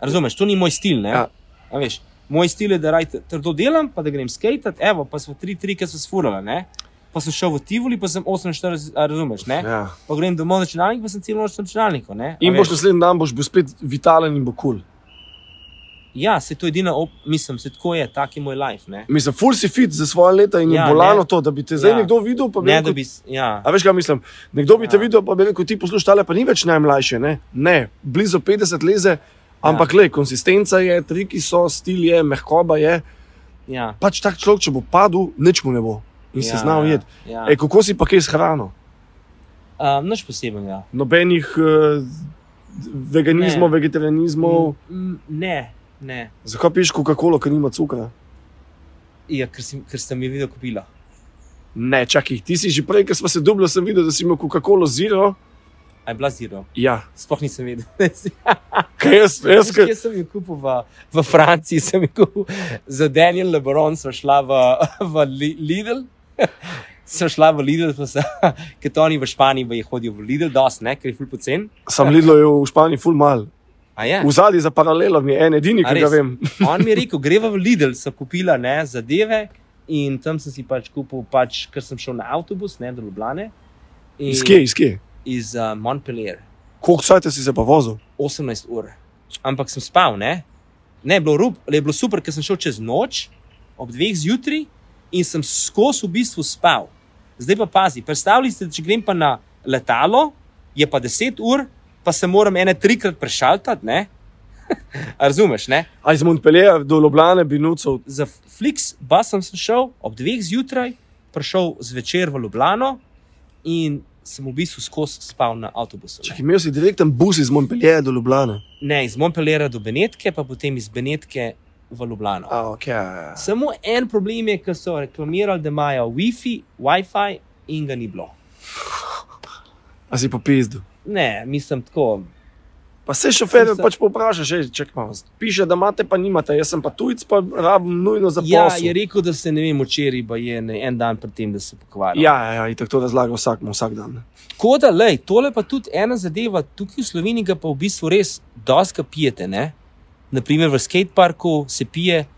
Speaker 3: Razumeš, to ni moj stil.
Speaker 1: Ja.
Speaker 3: Ja. Veš, moj stil je, da raj tr- trdo delam, pa da grem skatat, evo, pa smo tri, tri, ki so sfurali. ne. Pa sem šel v Tivoli, pa sem 48, a, razumeš, ne?
Speaker 1: Ja.
Speaker 3: Pa grem domov na računalnik, pa sem celo noč na računalniku, ne? A
Speaker 1: In
Speaker 3: veš.
Speaker 1: boš naslednji dan boš bil spet vitalen in bo kul. Cool.
Speaker 3: Ja, se to je edina, op- mislim, se tako je, tak je moj life, ne?
Speaker 1: Mislim, ful si fit za svoje leta in je
Speaker 3: Ja,
Speaker 1: ja,
Speaker 3: ne.
Speaker 1: bolano to, da bi te zdaj ja.
Speaker 3: Ja.
Speaker 1: nekdo videl. pa bi
Speaker 3: Ne,
Speaker 1: rekel,
Speaker 3: da bi, s- ja.
Speaker 1: A veš, kaj mislim? Nekdo bi te
Speaker 3: Ja.
Speaker 1: videl, pa bi rekel, ti poslušaj, tale pa ni več najmlajše. Ne, ne blizu 50 leze, ampak ja. le, konsistenca je, triki so, stil je, mehkoba je.
Speaker 3: Ja.
Speaker 1: Pač tak človek, če bo padel, nič mu ne bo in ja. se znal jed.
Speaker 3: Ja.
Speaker 1: Ja. E, kako si pa kaj s hrano?
Speaker 3: Um, Noč posebenega.
Speaker 1: Nobenih uh, veganizmov,
Speaker 3: Ne.
Speaker 1: vegetarianizmov, mm.
Speaker 3: Mm, ne, ne.
Speaker 1: zakaj piješ Coca-Cola, ker nima cukra?
Speaker 3: Ja, ker, si, ker sem jih videl kupila.
Speaker 1: Ne, čakaj, ti si že prej, ko smo se dubljali, sem videl, da si imel Coca-Cola zero.
Speaker 3: A je bila zero.
Speaker 1: Ja,
Speaker 3: Sploh nisem vedel.
Speaker 1: kaj jaz, jaz,
Speaker 3: Jaz
Speaker 1: kaj...
Speaker 3: sem jo kupil v, v Franciji, sem jo kupil za Daniel Lebron, sva šla v, v Li- Lidl. Sem šla v Lidl, pa sem, ker to oni v Španiji baje hodijo v Lidl, dosti, ne, ker je ful pocen.
Speaker 1: sam Lidlo je v Španiji ful mal.
Speaker 3: A je.
Speaker 1: V zadnji za paralelom je en edini,
Speaker 3: A
Speaker 1: ki ga
Speaker 3: res?
Speaker 1: vem.
Speaker 3: On mi je rekel, greva v Lidl, sem kupila ne, zadeve in tam sem si pač kupil, pač, ker sem šel na avtobus, ne do Ljubljane. In-
Speaker 1: Iz kje, iz kje?
Speaker 3: iz uh, Montpellier,
Speaker 1: Koliko sajte si se pa vozil?
Speaker 3: 18 ur. Ampak sem spal, ne? Ne, je bilo, rup, je bilo super, ker sem šel čez noč, ob dveh zjutraj in sem skozi v bistvu spal. Zdaj pa pazi, predstavljaj si, da če grem pa na letalo, je pa 10 ur, pa se moram ene trikrat prešaltati, ne? A Razumeš, ne?
Speaker 1: A iz Montpellierja do Ljubljana bi nucov.
Speaker 3: Za Flix busom sem šel ob dveh zjutraj, prišel zvečer v Ljubljano in sem v bistvu skozi spal na avtobusu. ne.
Speaker 1: Čak, imel si direkten bus iz Montpellierja do Ljubljana.
Speaker 3: Ne, iz Montpellierja do Benetke, pa potem iz Benetke v Ljubljano.
Speaker 1: A, ok. ja, ja.
Speaker 3: Samo en problem je, ker so reklamirali, da imajo Wi-Fi, Wi-Fi in ga ni bilo.
Speaker 1: A si pa pizdu.
Speaker 3: Ne, mislim tako.
Speaker 1: Pa se šoferje
Speaker 3: Sem se-
Speaker 1: pač povprašaš, že čekam. Piše, da imate, pa nimate. Jaz sem pa tujc, pa rabim nujno za
Speaker 3: Ja, je
Speaker 1: posel.
Speaker 3: rekel, da se ne vem, včeraj pa je ne, en dan pred tem, da se pokvarja.
Speaker 1: Ja, ja, ja, in tako to razlaga vsakmu vsak dan.
Speaker 3: Tako da, lej, tole pa tudi ena zadeva, tukaj v Sloveniji ga pa v bistvu res doska pijete. Ne? Naprimer v skateparku se pije,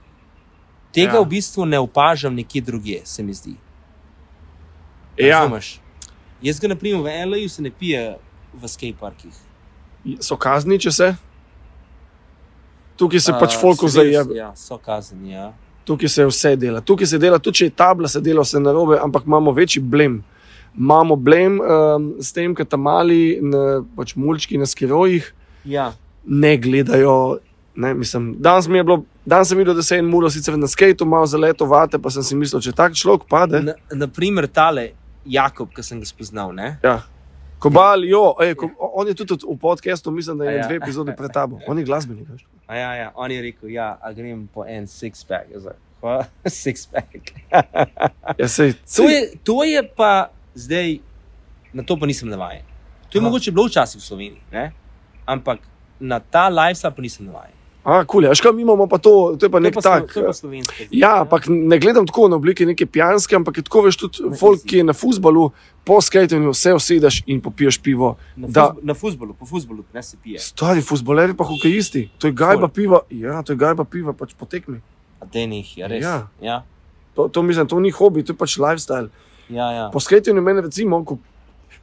Speaker 1: Ja.
Speaker 3: tega ja. v bistvu ne opažam nekje drugje, se mi zdi.
Speaker 1: Ja,
Speaker 3: Razumeš? Jaz ga, na primer, v L.A.U. se ne pije v skateparkih.
Speaker 1: so kazni, če se. Tukaj se pač
Speaker 3: A,
Speaker 1: folko
Speaker 3: se res,
Speaker 1: zajebe,
Speaker 3: Ja, so kazni. Ja.
Speaker 1: tukaj se vse dela. Tukaj se dela, tudi če je tabla, se dela vse na robe, ampak imamo večji blem. Imamo blem um, s tem, ker tam mali, na, pač mulčki na skirojih,
Speaker 3: ja.
Speaker 1: ne gledajo. Ne, mislim, danes, mi je bilo, danes sem videl, da se je en muro sicer na skateu malo zaletovate, pa sem si mislil, če tak človek pade.
Speaker 3: Na, naprimer, tale Jakob, ki sem ga spoznal. Ne?
Speaker 1: Ja. Kobal, jo, ej, ko, on je tudi v podkastu, mislim, da je
Speaker 3: Ja.
Speaker 1: dve epizode pred tabo. On je glasbenik. veš.
Speaker 3: A Ja, ja, on je rekel, ja, a grem po en six-pack. Jaz like, "Kva? six-pack.
Speaker 1: Ja, sej,
Speaker 3: To, je- to je pa zdaj, na to pa nisem navaden. To je
Speaker 1: Aha.
Speaker 3: Aha. mogoče bilo včasih v Sloveniji, ne? ampak na ta lifestyle pa nisem navaden.
Speaker 1: A, kul, ja, cool, škam imamo pa to, to je pa
Speaker 3: To je
Speaker 1: nek
Speaker 3: pa
Speaker 1: tak.
Speaker 3: slo- To je pa slovensko.
Speaker 1: Ja, ampak ne gledam tako na oblike neke pijanske, ampak je tako veš tudi folk, ki je na futbalu, po skajtenju se usedeš in popiješ pivo.
Speaker 3: Na, ja.
Speaker 1: Da,
Speaker 3: fuzb, na fuzbolu, po fuzbolu ne se pije.
Speaker 1: stari futboleri pa hokejisti, to je gajba piva, ja, to je gajba piva, pač potekmi.
Speaker 3: A te njih, ja, res.
Speaker 1: Ja.
Speaker 3: ja,
Speaker 1: To, to mislim, to ni hobi, to je pač lifestyle.
Speaker 3: ja. ja.
Speaker 1: Po skajtenju meni recimo, ko...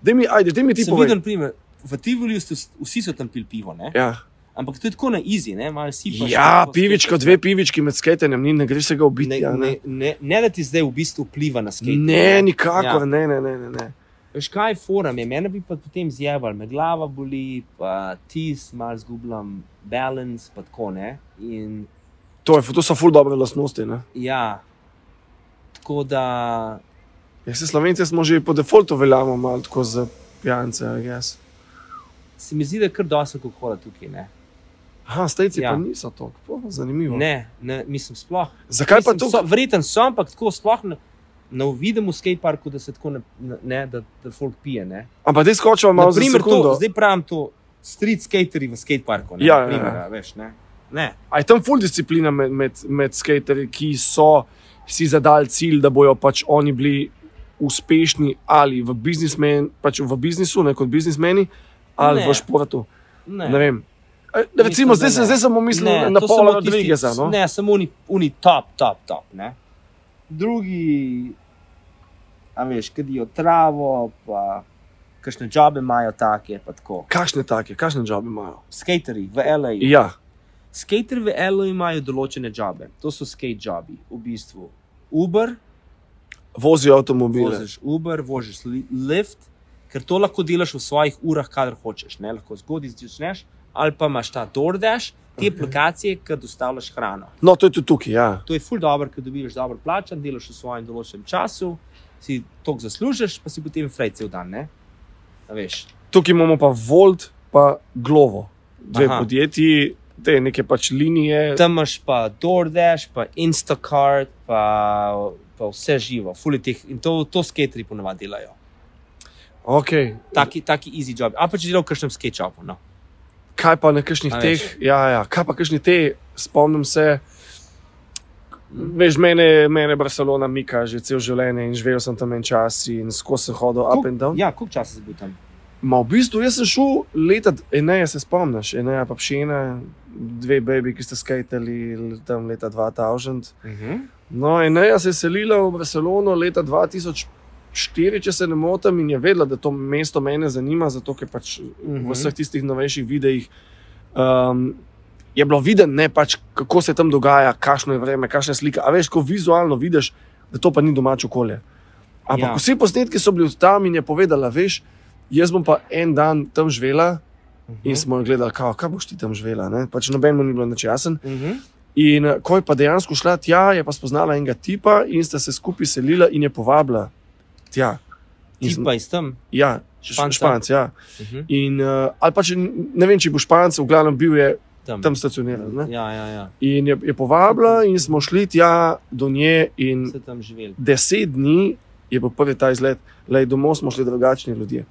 Speaker 1: Dej mi, ajde, dej mi ti
Speaker 3: Sem
Speaker 1: povem.
Speaker 3: videl primer, v Tivoliju so s- vsi so tam pil pivo, ne?
Speaker 1: Ja.
Speaker 3: ampak to je tako na izi, ne, malo si pa.
Speaker 1: ja, pivičko, dve pivički med skajtenjem, ni, ne greš se ga ubiti.
Speaker 3: Ne,
Speaker 1: ja,
Speaker 3: ne, ne, ne da ti zdaj v bistvu vpliva na skate.
Speaker 1: ne, nikakor, ja. ne, ne, ne, ne, ne.
Speaker 3: Veš kaj je forum, je mene bi pa potem zjeval, me glava boli, pa tis, malo zgubljam balance, pa tako ne. In
Speaker 1: To, je, to so ful dobre lastnosti. Ne?
Speaker 3: ja, tako da
Speaker 1: Ja, se Slovenci smo že po defaultu veljamo malo tako za pijance, jaz.
Speaker 3: se mi zdi, da je kar dosti alkohola tukaj, ne.
Speaker 1: Aha, stejci ja.
Speaker 3: Ja.
Speaker 1: pa niso tako, po, zanimivo.
Speaker 3: Ne, ne, mislim sploh.
Speaker 1: Zakaj Ja. pa
Speaker 3: Mislim,
Speaker 1: to?
Speaker 3: so- Verjetno so, ampak tako sploh ne, ne vidim v skateparku, da se tako ne, ne da, da folk pije, ne.
Speaker 1: Ampak zdaj skočimo malo za
Speaker 3: Naprimer, to,
Speaker 1: sekundo.
Speaker 3: zdaj pravim to, street skateri v skateparku. ne,
Speaker 1: Ja,
Speaker 3: na
Speaker 1: ja,
Speaker 3: primer,
Speaker 1: ja.
Speaker 3: a veš, ne. ne.
Speaker 1: A je tam ful disciplina med, med, med skaterji, ki so si zadali cilj, da bojo pač oni bili uspešni ali v, biznismen- pač v biznisu, ne kot biznismeni, ali ne.
Speaker 3: Ne.
Speaker 1: v športu.
Speaker 3: ne.
Speaker 1: Ne. Ne vem. E,
Speaker 3: Mislim,
Speaker 1: Recimo,
Speaker 3: da
Speaker 1: zdaj, se,
Speaker 3: ne.
Speaker 1: zdaj samo mislim ne, na
Speaker 3: to samo
Speaker 1: Paula
Speaker 3: tisti-
Speaker 1: Rodrigueza. No?
Speaker 3: Ne, samo oni, oni top, top, top. Ne? Drugi, a veš, kadijo travo, pa kakšne džabe imajo take, pa tako.
Speaker 1: Kakšne take, kakšne džabe imajo?
Speaker 3: Skateri v L.A.
Speaker 1: Ja,
Speaker 3: Skateri v L.A. imajo določene džabe, to so skate džabi, v bistvu. Uber,
Speaker 1: vozijo avtomobile.
Speaker 3: voziš Uber, voziš li- Lyft, ker to lahko delaš v svojih urah, kadar hočeš. Ne? Lahko zgodaj začneš, ali pa imaš ta DoorDash,
Speaker 1: Mhm.
Speaker 3: te aplikacije, ki dostavljaš hrano.
Speaker 1: No, to je tudi tukaj, ja.
Speaker 3: To je ful dobro, ker dobiš dobro plačan, delaš v svojem določenem času, si toliko zaslužiš, pa si potem fraj cel dan. Ne? A Veš,
Speaker 1: Tukaj imamo pa Volt, pa Glovo, dve Aha.
Speaker 3: Aha.
Speaker 1: podjetji, te neke pač linije.
Speaker 3: tam imaš pa DoorDash, pa Instacart, pa, pa vse živo, fulje teh in to, to skateri ponovadi delajo.
Speaker 1: Okay.
Speaker 3: Taki, taki easy job. A pa če delaš v kakšnem sketchupu. No.
Speaker 1: Kaj pa na kakšnih
Speaker 3: A
Speaker 1: teh?
Speaker 3: veš.
Speaker 1: Ja, ja, kaj pa kakšni te, spomnim se. Veš, mene, mene Barcelona mika že cel življenje in živel sem tam en čas in skozi sem hodil up
Speaker 3: Koliko-
Speaker 1: in down.
Speaker 3: Ja, koliko časa si bil tam?
Speaker 1: Ma v bistvu jaz sem šel leta, eneje se spomniš, eneja pa pšena, dve baby, ki ste skajtali tam leta 2000.
Speaker 3: Uh -huh.
Speaker 1: No, Eneja se je selila v Barcelono leta 2004, če se ne motim, in je vedela, da to mesto mene zanima, zato ker pač v
Speaker 3: Mhm.
Speaker 1: vseh tistih novejših videih um, je bilo videti, ne, pač, kako se tam dogaja, kakšno je vreme, kakšna je slika. A veš, ko vizualno vidiš, da to pa ni domače okolje. Ampak
Speaker 3: Ja.
Speaker 1: ja. vsi posnetki so bili od tam in je povedala, veš, jaz bom pa en dan tam živela. In
Speaker 3: Mhm.
Speaker 1: smo jo gledali, kao, kaj boš ti tam živela. ne? Pač nobenemu ni bilo nič jasno.
Speaker 3: Mhm.
Speaker 1: In eh, ko je pa dejansko šla tja, je pa spoznala enega tipa in sta se skupaj selila in je povabila tja. In
Speaker 3: Ti
Speaker 1: sem-
Speaker 3: pa iz tam.
Speaker 1: Ja,
Speaker 3: Španca.
Speaker 1: Španc. Španc ja.
Speaker 3: Uh -huh.
Speaker 1: In, uh, ali pa če ne vem, če bo Španc, v glavnem bil je
Speaker 3: tam.
Speaker 1: tam stacioniran. Ne?
Speaker 3: Ja, ja, ja.
Speaker 1: In je, je povabila in smo šli tja do nje. In
Speaker 3: Se tam živeli.
Speaker 1: deset dni je bil prvi ta izlet, le domov smo šli drugačni ljudje.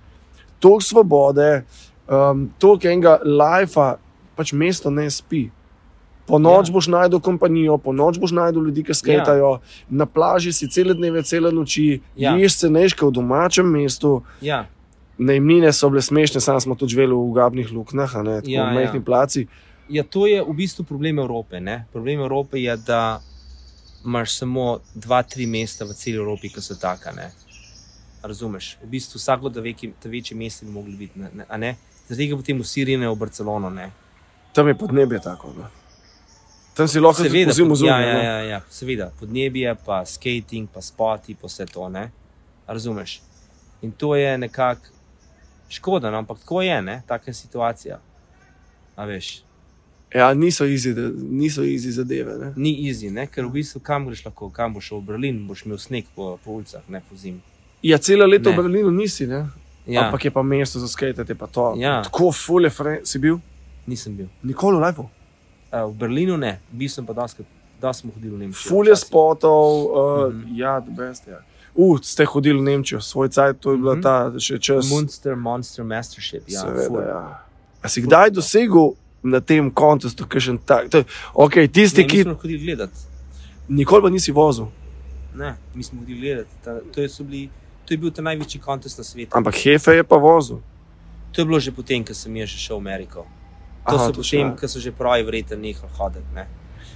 Speaker 1: Tok svobode, um, toliko enega lajfa, pač mesto ne spi. Po noč ja.
Speaker 3: Ja.
Speaker 1: boš najdel kompanijo, po noč boš najdel ljudi, ki skajtajo, ja. na plaži si cele dneve, cele noči, ja.
Speaker 3: Ja.
Speaker 1: ješ se neška v domačem mestu.
Speaker 3: Ja,
Speaker 1: Najemnine so bile smešne, sam smo tudi živeli v ugabnih luknjah, a ne, tako
Speaker 3: Ja,
Speaker 1: ja, v
Speaker 3: ja.
Speaker 1: majhni ja. placi.
Speaker 3: ja, to je v bistvu problem Evrope. Ne? Problem Evrope je, da imaš samo dva, tri mesta v celi Evropi, ki so taka. Ne? Razumeš? V bistvu vsako da veki- ta večje mesto bi mogli biti. Ne? ne- a Ne? Zaradi tega potem vsi rinejo v Barcelono. Ne?
Speaker 1: Tam je podnebje tako. Ne. Tam si lahko tudi zimo
Speaker 3: pod,
Speaker 1: zunaj. no.
Speaker 3: ja,
Speaker 1: ne.
Speaker 3: ja, ja, ja, seveda, podnebje, pa skating, pa spoti, pa vse to. Ne? A Razumeš? In to je nekako škoda, no? ampak tako je, ne? taka je situacija. A veš?
Speaker 1: Ja, niso izi, da- niso izi zadeve. Ne.
Speaker 3: ni izi, ne? ker v bistvu kam greš lahko, kam boš šel v Berlin, boš imel sneg po, po ulicah, ne po zimi.
Speaker 1: Ja, celo leto
Speaker 3: Ne.
Speaker 1: v Berlinu nisi, ne? Ja.
Speaker 3: Ja, Ampak
Speaker 1: ampak je pa mesto za skajtati, pa to.
Speaker 3: Ja.
Speaker 1: Tako fulje fre- si bil,
Speaker 3: nisem bil.
Speaker 1: nikoli v lajfu.
Speaker 3: Uh, v Berlinu ne, bil sem pa doskrat, da smo hodili v Nemčijo.
Speaker 1: Fulje
Speaker 3: včasih.
Speaker 1: spotov, uh, mm
Speaker 3: Mhm.
Speaker 1: -hmm. ja, the best. Ja. Uh, ste hodili v Nemčijo, svoj cajt, to je bila
Speaker 3: Mhm.
Speaker 1: ta še čas.
Speaker 3: Monster, Monster Mastership. Ja,
Speaker 1: Seveda,
Speaker 3: ful.
Speaker 1: ja. A si kdaj dosegel na tem kontestu, ki še en tak. To, je- okay, tisti,
Speaker 3: Ne, mi
Speaker 1: ki
Speaker 3: smo hodili gledati.
Speaker 1: nikoli pa nisi vozil,
Speaker 3: Ne, mi smo hodili gledati. Ta, to, je, so bili, to je bil ta največji kontest na svetu.
Speaker 1: ampak hefe je pa vozil.
Speaker 3: To je bilo že potem, ko sem jaz še šel v Ameriko. To Aha, so potem, ko so že proje verjetno nehali hoditi. Ne.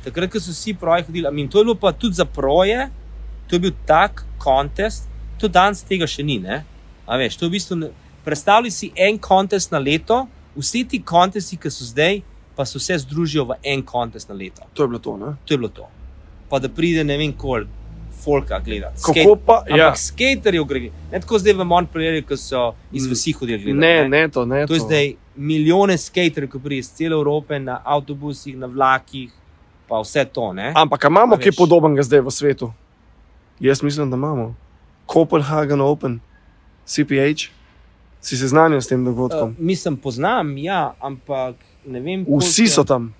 Speaker 3: Takrat, ko so vsi proje hodili, I mean, to je bilo pa tudi za proje, to je bil tak kontest, to danes tega še ni. ne. A Veš, to je v bistvu, ne- predstavljaj si en kontest na leto, vsi ti kontesti, ki so zdaj, pa se vse združijo v en kontest na leto.
Speaker 1: To je bilo to. Ne?
Speaker 3: To je bilo to. Pa da pride ne vem koliko, folka gledati.
Speaker 1: Kako pa? Ja.
Speaker 3: Ampak skaterji gre. Ne tako zdaj v Montpellieru, ko so iz
Speaker 1: Mm.
Speaker 3: vsi hodili gledati.
Speaker 1: Ne, ne, to ne.
Speaker 3: To je zdaj milijone skaterjev, ki pridejo iz cele Evrope na avtobusih, na vlakih, pa vse to. Ne?
Speaker 1: Ampak a imamo
Speaker 3: A
Speaker 1: kaj
Speaker 3: veš.
Speaker 1: podobnega zdaj v svetu? Jaz mislim, da imamo. Copenhagen Open, CPH, si seznanjen s tem
Speaker 3: Uh,
Speaker 1: dogodkom.
Speaker 3: mislim, poznam, ja, ampak ne vem.
Speaker 1: Uh, Vsi
Speaker 3: koliko-
Speaker 1: so tam.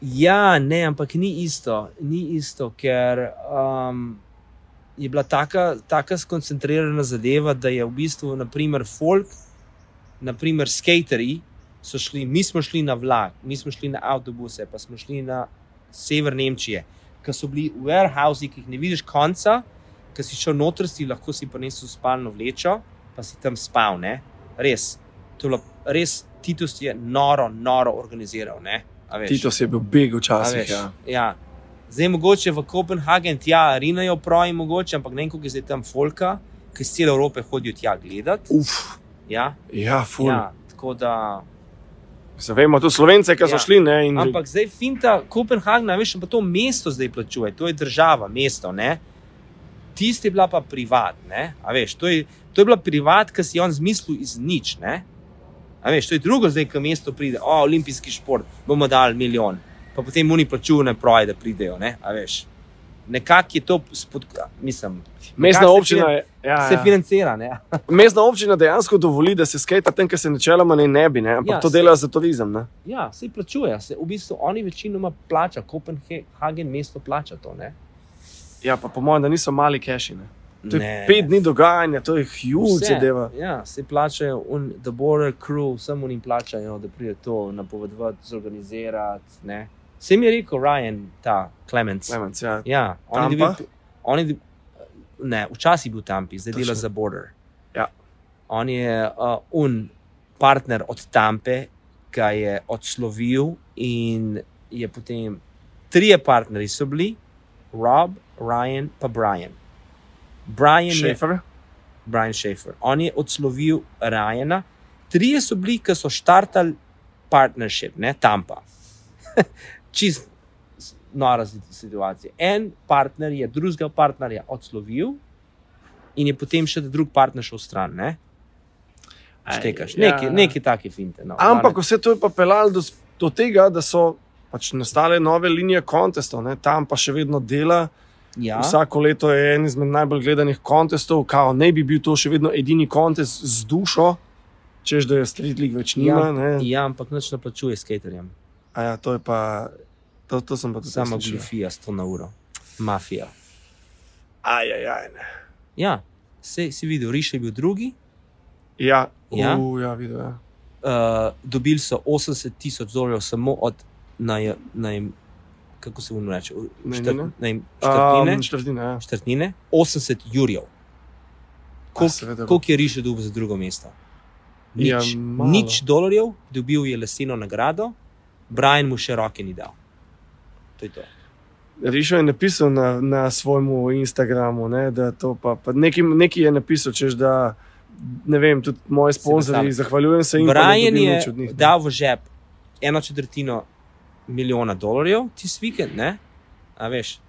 Speaker 3: Ja, ne, ampak ni isto, ni isto ker um, je bila taka, taka skoncentrirana zadeva, da je v bistvu, naprimer, folk, naprimer, skateri so šli, mi smo šli na vlak, mi smo šli na avtobuse, pa smo šli na sever Nemčije, ki so bili warehouse, ki jih ne vidiš konca, ki si šel noter, si lahko si prinesel spalno vlečo, pa si tam spal, ne, res. To je bilo res, Titus je noro, noro organiziral, ne. A veš.
Speaker 1: Tito si je bil beg
Speaker 3: A
Speaker 1: včasih.
Speaker 3: veš,
Speaker 1: Ja.
Speaker 3: Ja. Zdaj mogoče v Kopenhagen tja rinajo proji, mogoče, ampak ne vem, koliko je zdaj tam folka, ki iz cele Evrope hodijo tja gledati.
Speaker 1: Uf,
Speaker 3: Ja,
Speaker 1: ja, ful. Ja.
Speaker 3: ja, tako da.
Speaker 1: Vemo, tudi slovence, ki so
Speaker 3: Ja.
Speaker 1: šli. Ne, in...
Speaker 3: Ampak zdaj finta, Kopenhagen, a veš, pa to mesto zdaj plačuje, to je država, mesto. Ne? Tisti je bila pa privatna, veš, to je, to je bila privatna, ki si jo on zmislil iz nič. Ne? A veš, to je drugo, zdaj, ko mesto pride, o, olimpijski šport, bomo dali milijon, pa potem oni plačujejo na proje, da pridejo, ne, a veš. Nekako je to, spod, mislim,
Speaker 1: Mestna
Speaker 3: nekako se
Speaker 1: občina, je, ja,
Speaker 3: ja, se
Speaker 1: ja.
Speaker 3: financira. Ne?
Speaker 1: Mestna občina dejansko dovoli, da se skajta tam, kjer se načeloma ne, ne bi, ne? ampak ja,
Speaker 3: Ja,
Speaker 1: to
Speaker 3: saj.
Speaker 1: delajo za turizem. Ne?
Speaker 3: Ja, se plačuje, se v bistvu oni večinoma plača, Kopenhagen mesto plača to. Ne?
Speaker 1: Ja, pa po mojem, da niso mali keši. Ne? To je
Speaker 3: Ne,
Speaker 1: ne, pet
Speaker 3: ne.
Speaker 1: dni dogajanja, to je huge
Speaker 3: Vse.
Speaker 1: zadeva.
Speaker 3: Ja, se plačajo, un, the border crew, samo jim plačajo, da pride to napovedovati, zorganizirati. ne. Se mi je rekel Ryan, ta Clemens.
Speaker 1: Clemens, ja.
Speaker 3: Ja, on je
Speaker 1: Tampa?
Speaker 3: dobil- on je dobil- Ne, včasih je bil Tampi, zdaj dela
Speaker 1: Točno.
Speaker 3: za border.
Speaker 1: Ja.
Speaker 3: On je uh, un partner od Tampe, ki je odslovil in je potem trije partnerji so bili, Rob, Ryan pa Brian. Brian je
Speaker 1: Šefer.
Speaker 3: Brian Schaefer. On je odslovil Rajana, trije so bili, ki so štartali partnership, ne Tampa. Čist nora si- situacija. En partner je drugega partnerja odslovil in je potem še drug partner šel stran. Ne? Štekaš,
Speaker 1: Ja,
Speaker 3: neki,
Speaker 1: ja.
Speaker 3: neki taki finte. No.
Speaker 1: Ampak vse to je pa pelalo do, s- do tega, da so pač nastale nove linije kontestov, ne? tam pa še vedno dela.
Speaker 3: ja,
Speaker 1: Ja. Vsako leto je en izmed najbolj gledanih kontestov, kao ne bi bil to še vedno edini kontest z dušo, češ da je Street League več nima. Ja.
Speaker 3: ja, ampak noč ne plačuje skaterjem,
Speaker 1: Ja, to je pa, to, to sem pa tudi
Speaker 3: samo
Speaker 1: slišal.
Speaker 3: glufija 100 na uro, mafija.
Speaker 1: Aj, aj, aj, ne.
Speaker 3: Ja, se, si videl, Riš je bil drugi,
Speaker 1: Ja, ja.
Speaker 3: Ja.
Speaker 1: Uh, ja, videl, ja.
Speaker 3: uh, dobili so 80 tisoč dolarjev samo od naj, naj, kako se jim reče,
Speaker 1: Najemnine?
Speaker 3: štrtnine,
Speaker 1: Um, Štrtine, ja.
Speaker 3: štrtnine, 80 jurjev.
Speaker 1: Kolik,
Speaker 3: Koliko je Riš dobil za drugo mesto? Nič,
Speaker 1: Ja,
Speaker 3: ja,
Speaker 1: malo.
Speaker 3: nič dolarjev, dobil je leseno nagrado, Brian mu še roke ni dal. To je to.
Speaker 1: Rišo je napisal na, na svojem Instagramu, ne, da to pa, pa neki, neki je napisal, češ da ne vem, tudi moji sponzorji,
Speaker 3: predstavljam.
Speaker 1: zahvaljujem se jim. pa ne
Speaker 3: Brian
Speaker 1: dobim
Speaker 3: je
Speaker 1: nič od njih, ne.
Speaker 3: dal v žep eno četrtino milijona dolarjev tisti vikend, ne? A veš,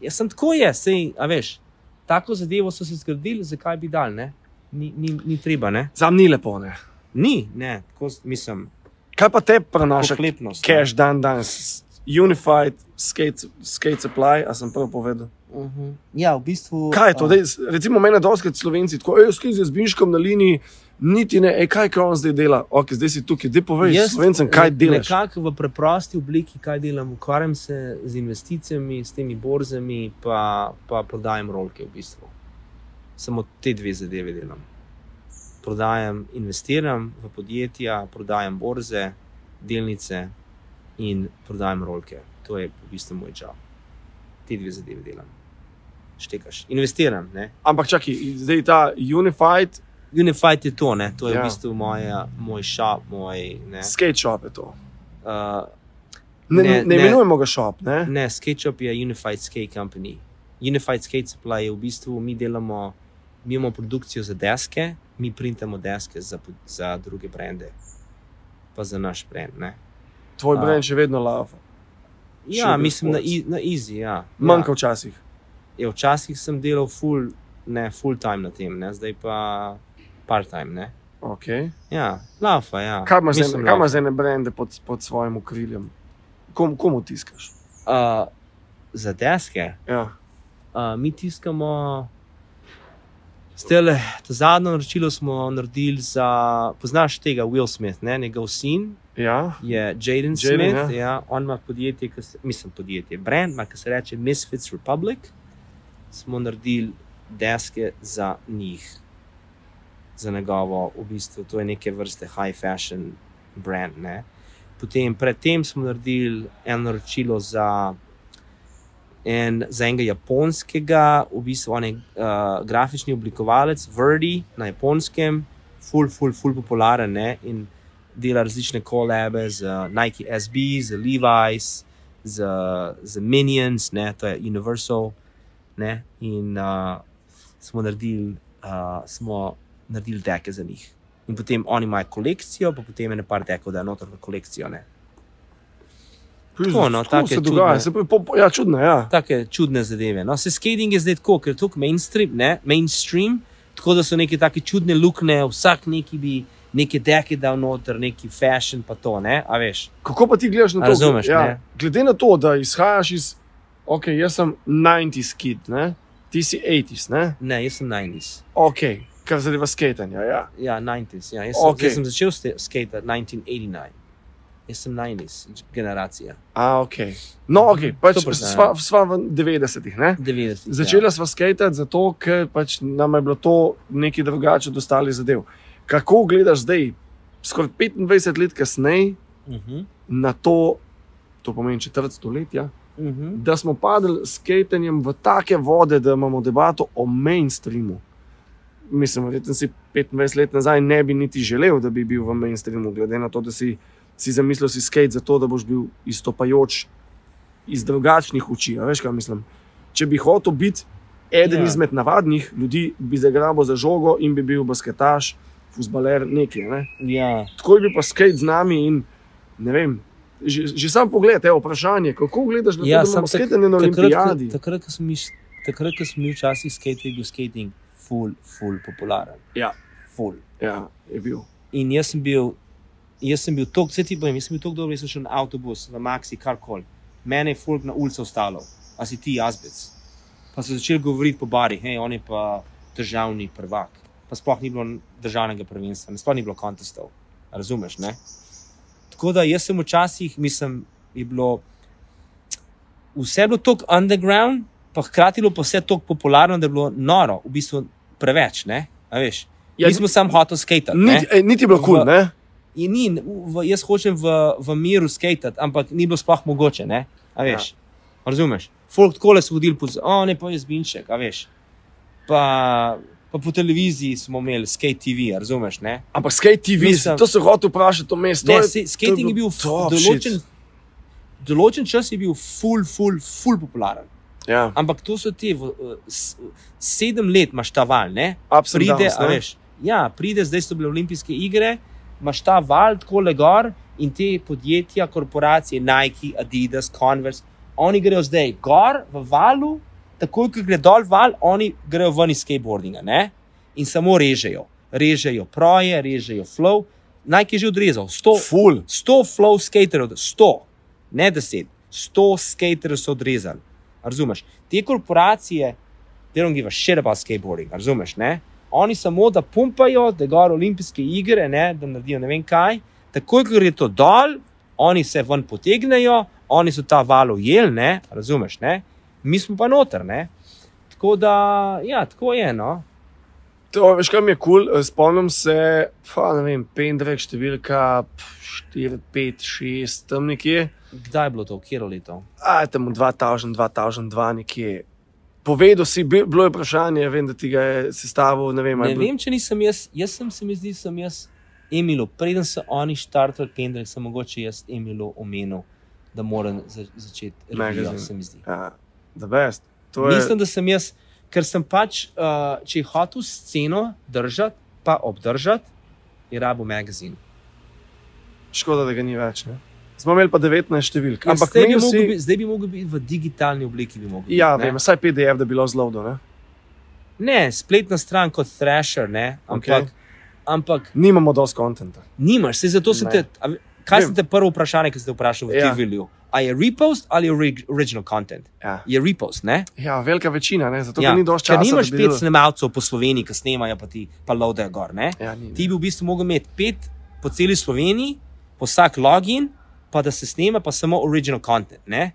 Speaker 3: jaz sem tako je, sej, a veš, tako zadevo so se zgradili, zakaj bi dal, ne? Ni, ni, ni treba, ne?
Speaker 1: Zam ni lepo, ne.
Speaker 3: Ni, ne, tako s- mislim,
Speaker 1: Kaj pa te prenaša
Speaker 3: pošlepnost.
Speaker 1: cash dan danes? Unified skate, skate supply, a sem prav povedal.
Speaker 3: Uh -huh. Ja, v bistvu.
Speaker 1: Kaj je to?
Speaker 3: a,
Speaker 1: Dej, s- recimo, meni doskrat slovenci, tako je, skaj z Binškom na liniji, niti ne, e, kaj on zdaj dela, ok, zdaj si tukaj, zdaj povej
Speaker 3: Jaz
Speaker 1: slovencem, kaj
Speaker 3: ne-
Speaker 1: delaš.
Speaker 3: Nekako v preprosti obliki, kaj delam, ukvarjam se z investicijami, s temi borzami, pa, pa prodajam rolke v bistvu. Samo te dve zadeve delam. Prodajam, investiram v podjetja, prodajam borze, delnice in prodajam rolke. To je v bistvu moj job. Te dve zadeve delam. Štekaš, investiram. Ne?
Speaker 1: Ampak čakaj, zdaj ta Unified
Speaker 3: Unified je to, ne? to je ja.
Speaker 1: Ja.
Speaker 3: v bistvu moja, moj šop, moj. Ne,
Speaker 1: skate shop je to.
Speaker 3: uh,
Speaker 1: Ne, ne,
Speaker 3: Ne,
Speaker 1: ne
Speaker 3: ne. Mm.
Speaker 1: imenujemo ga shop, ne?
Speaker 3: ne SketchUp je Unified Skate Company. Unified Skate Supply je v bistvu, mi delamo, mi imamo produkcijo za deske, mi printamo deske za, pod- za druge brende, pa za naš brend. ne.
Speaker 1: Tvoj
Speaker 3: A.
Speaker 1: brand še vedno lava.
Speaker 3: Ja,
Speaker 1: Sugar
Speaker 3: mislim na,
Speaker 1: Sports.
Speaker 3: i- na Easy. Ja.
Speaker 1: Manjka včasih.
Speaker 3: Ja, je, včasih sem delal full, ne, full time na tem, ne? zdaj pa part time. Ne?
Speaker 1: Okay.
Speaker 3: Ja, lafa, ja.
Speaker 1: Kaj imaš zdaj-
Speaker 3: Mislim,
Speaker 1: kaj
Speaker 3: lafa.
Speaker 1: imaš za ene brende pod, pod svojim okriljem? Kom, komu tiskaš?
Speaker 3: Uh, za deske.
Speaker 1: Ja.
Speaker 3: Uh, mi tiskamo. Stele, to zadnje naročilo smo naredili za. Poznaš tega Will Smith, ne? njegov sin
Speaker 1: ja.
Speaker 3: je Jaden
Speaker 1: Jaden,
Speaker 3: Smith.
Speaker 1: ja.
Speaker 3: Ja. Ja, on ima podjetje, ki se, mislim, podjetje, brand, ima, ki se reče Misfits Republic. Smo naredili deske za njih, za njegovo, v bistvu to je neke vrste high fashion brand. Ne? Potem, predtem smo naredili eno naročilo za. En, za enega japonskega, v bistvu on je uh, grafični oblikovalec, Verdi na japonskem, ful, ful, ful popularen. Ne? In dela različne kolabe z uh, Nike SB, z Levi's, z, z Minions, ne, to je Universal. Ne, in uh, smo naredili, uh, smo naredili deke za njih. In potem oni imajo kolekcijo, pa potem je nekaj dekov, da je notor v kolekcijo. Ne. Tako, no,
Speaker 1: tako
Speaker 3: take
Speaker 1: se dogaja.
Speaker 3: čudne.
Speaker 1: Se pravi, po, po, ja, čudno, ja.
Speaker 3: Take čudne zadeve. No, se skating je zdaj tako, ker je tako mainstream, ne, mainstream, tako da so neke take čudne luknje, vsak neki bi neke deke dal noter, neki fashion, pa to, ne, a veš.
Speaker 1: Kako pa ti gledaš na to?
Speaker 3: Razumeš,
Speaker 1: ja.
Speaker 3: ne?
Speaker 1: Glede na to, da izhajaš iz, ok, jaz sem 90s kid, ne? ti si 80s, ne?
Speaker 3: Ne, jaz sem 90s.
Speaker 1: ok, kar zadeva sketanja. Ja.
Speaker 3: Ja, 90s. Ja. Jaz,
Speaker 1: Okej.
Speaker 3: okay. jaz sem začel sk- skate 1989. Jaz sem 90s generacija.
Speaker 1: A, ok. No, ok, pač
Speaker 3: Super, ja.
Speaker 1: sva, sva v 90-ih, ne?
Speaker 3: 90.
Speaker 1: Začela sva skajati zato, ker pač nam je bilo to nekaj drugače od ostalih zadev. Kako gledaš zdaj, skoraj 25 let kasneje,
Speaker 3: Ja. Uh -huh.
Speaker 1: na to, to pomeni četrt stoletja,
Speaker 3: Uh -huh.
Speaker 1: da smo padli s skajtenjem v take vode, da imamo debato o mainstreamu? Mislim, verjetno si 25 let nazaj ne bi niti želel, da bi bil v mainstreamu, glede na to, da si, si zamislil si skate zato, da boš bil izstopajoč iz drugačnih oči. a Veš, kaj mislim? Če bi hotel biti eden
Speaker 3: Ja.
Speaker 1: ja. izmed navadnih ljudi, bi zagrabil za žogo in bi bil basketaš, fusbaler, nekaj. Ne?
Speaker 3: ja.
Speaker 1: tako je bil pa skate z nami. In, ne vem, že, že sam pogled, evo, vprašanje, kako gledaš na
Speaker 3: ja
Speaker 1: to, No, da
Speaker 3: sam
Speaker 1: imamo sketanje na
Speaker 3: takrat,
Speaker 1: olimpijadi?
Speaker 3: ko- takrat, ko smo mi š- takrat, ko smo mi včasih skate, je bil skating full, full popularen.
Speaker 1: Ja.
Speaker 3: Full.
Speaker 1: Ja, je bil.
Speaker 3: In jaz sem bil, jaz sem bil tako, vse ti povem, jaz sem bil tako dober, jaz sem šel na avtobus, na Maxi, karkoli. Mene je folk na ulici ostalo, a si ti jazbec. Pa so začeli govoriti po barih, hej, on je pa državni prvak. Pa sploh ni bilo državnega prvenstva, sploh ni bilo kontestov. A Razumeš? Ne? Tako da jaz sem včasih, mislim, je bilo vse je bilo tako underground, pa hkrati je bilo pa vse tako popularno, da je bilo noro, v bistvu preveč. Ne? a Veš?
Speaker 1: Ja,
Speaker 3: Ja, Mi smo samo hoteli skatati. ne.
Speaker 1: Niti, ej, niti je bilo kul, cool,
Speaker 3: V-
Speaker 1: ne?
Speaker 3: Je ni, n- v, jaz hočem v, v miru skatati, ampak ni bilo sploh mogoče. Ne? A veš, ja. razumeš? Folk tako le so hodili po zemlji, oh, ne pa jaz binček, a veš. Pa, pa po televiziji smo imeli skate TV, a razumeš? Ne?
Speaker 1: Ampak skate TV, Mislim,
Speaker 3: Mislim-
Speaker 1: to se hotel vprašati o mestu.
Speaker 3: Ne, se, skating je bil f- določen, določen čas je bil full, full, full popularen.
Speaker 1: Ja,
Speaker 3: Ampak to so ti, v- eh, s- sedem let imaš ta val, ne?
Speaker 1: absolutno.
Speaker 3: pride, a veš. Ja, pride, zdaj so bile olimpijske igre, imaš ta val, tako le gor in te podjetja, korporacije, Nike, Adidas, Converse, oni grejo zdaj gor v valu, takoj, ko gre dol val, oni grejo ven iz skateboardinga ne? in samo režejo. Režejo proje, režejo flow. Nike je že odrezal 100,
Speaker 1: Ful.
Speaker 3: 100 flow skaterjev, 100, ne 10, 100 skaterjev so odrezali. A Razumeš? Te korporacije, they don't give a shit about skateboarding, a razumeš? Ne? Oni samo da pumpajo, da gor olimpijske igre, ne, da naredijo ne vem kaj. Takoj, ko gre to dol, oni se ven potegnejo, oni so ta valo jel, ne, a razumeš? Ne? Mi smo pa noter. Ne? Tako da, ja, tako je. No?
Speaker 1: To, veš, kaj mi je kul, cool? spomnim se, pa, ne vem, Pendrek, številka 4, 5, 6, tam nekje,
Speaker 3: Kdaj je bilo to, kje je leto?
Speaker 1: a tam 2000, 2002 nekje. Povedal si, bi- bilo je vprašanje, vem, da ti ga je sestavil, ne vem, ali
Speaker 3: Ne
Speaker 1: je bil-
Speaker 3: vem, če nisem jaz, jaz sem se mi zdi, sem jaz Emilu, preden so oni štartali Kendrick, sem mogoče jaz Emilu omenil, da moram za, začeti revijo,
Speaker 1: Magazine.
Speaker 3: se mi zdi.
Speaker 1: Ja, da best. To je
Speaker 3: Mislim, da sem jaz, ker sem pač, uh, če je hotel sceno držati, pa obdržati, je rabo magazin.
Speaker 1: škoda, da ga ni več. Ne? Smo imeli pa 19 številk.
Speaker 3: Ampak
Speaker 1: Ampak
Speaker 3: zdaj Ja, bi,
Speaker 1: meni
Speaker 3: mogel
Speaker 1: vsi,
Speaker 3: biti, zdaj bi mogel biti v digitalni obliki. Bi mogel
Speaker 1: ja,
Speaker 3: biti,
Speaker 1: vem,
Speaker 3: ne?
Speaker 1: vsaj PDF, da bi bilo zelo dobro.
Speaker 3: ne, spletna stran kot Thrasher, ne, ampak,
Speaker 1: Okej.
Speaker 3: okay. ampak
Speaker 1: Nimamo dosti kontenta.
Speaker 3: nimaš, se zato sem
Speaker 1: Ne.
Speaker 3: te. a ve- Kaj
Speaker 1: Vem.
Speaker 3: ste te prvo vprašanje, ki ste vprašali v
Speaker 1: Ja.
Speaker 3: ja. TV-ju? A je repost ali je orig- original content?
Speaker 1: Ja.
Speaker 3: Je repost, ne?
Speaker 1: ja, velika večina, ne? zato ja. ni dosti
Speaker 3: Ker
Speaker 1: časa.
Speaker 3: nimaš
Speaker 1: da bi
Speaker 3: pet
Speaker 1: delali.
Speaker 3: snemalcev po Sloveniji, ki snemajo, pa ti pa lodajo gor, ne?
Speaker 1: Ja, ni,
Speaker 3: Ti bi v bistvu mogel imeti pet po celi Sloveniji, po vsak login, pa da se snema, pa samo original content. Ne?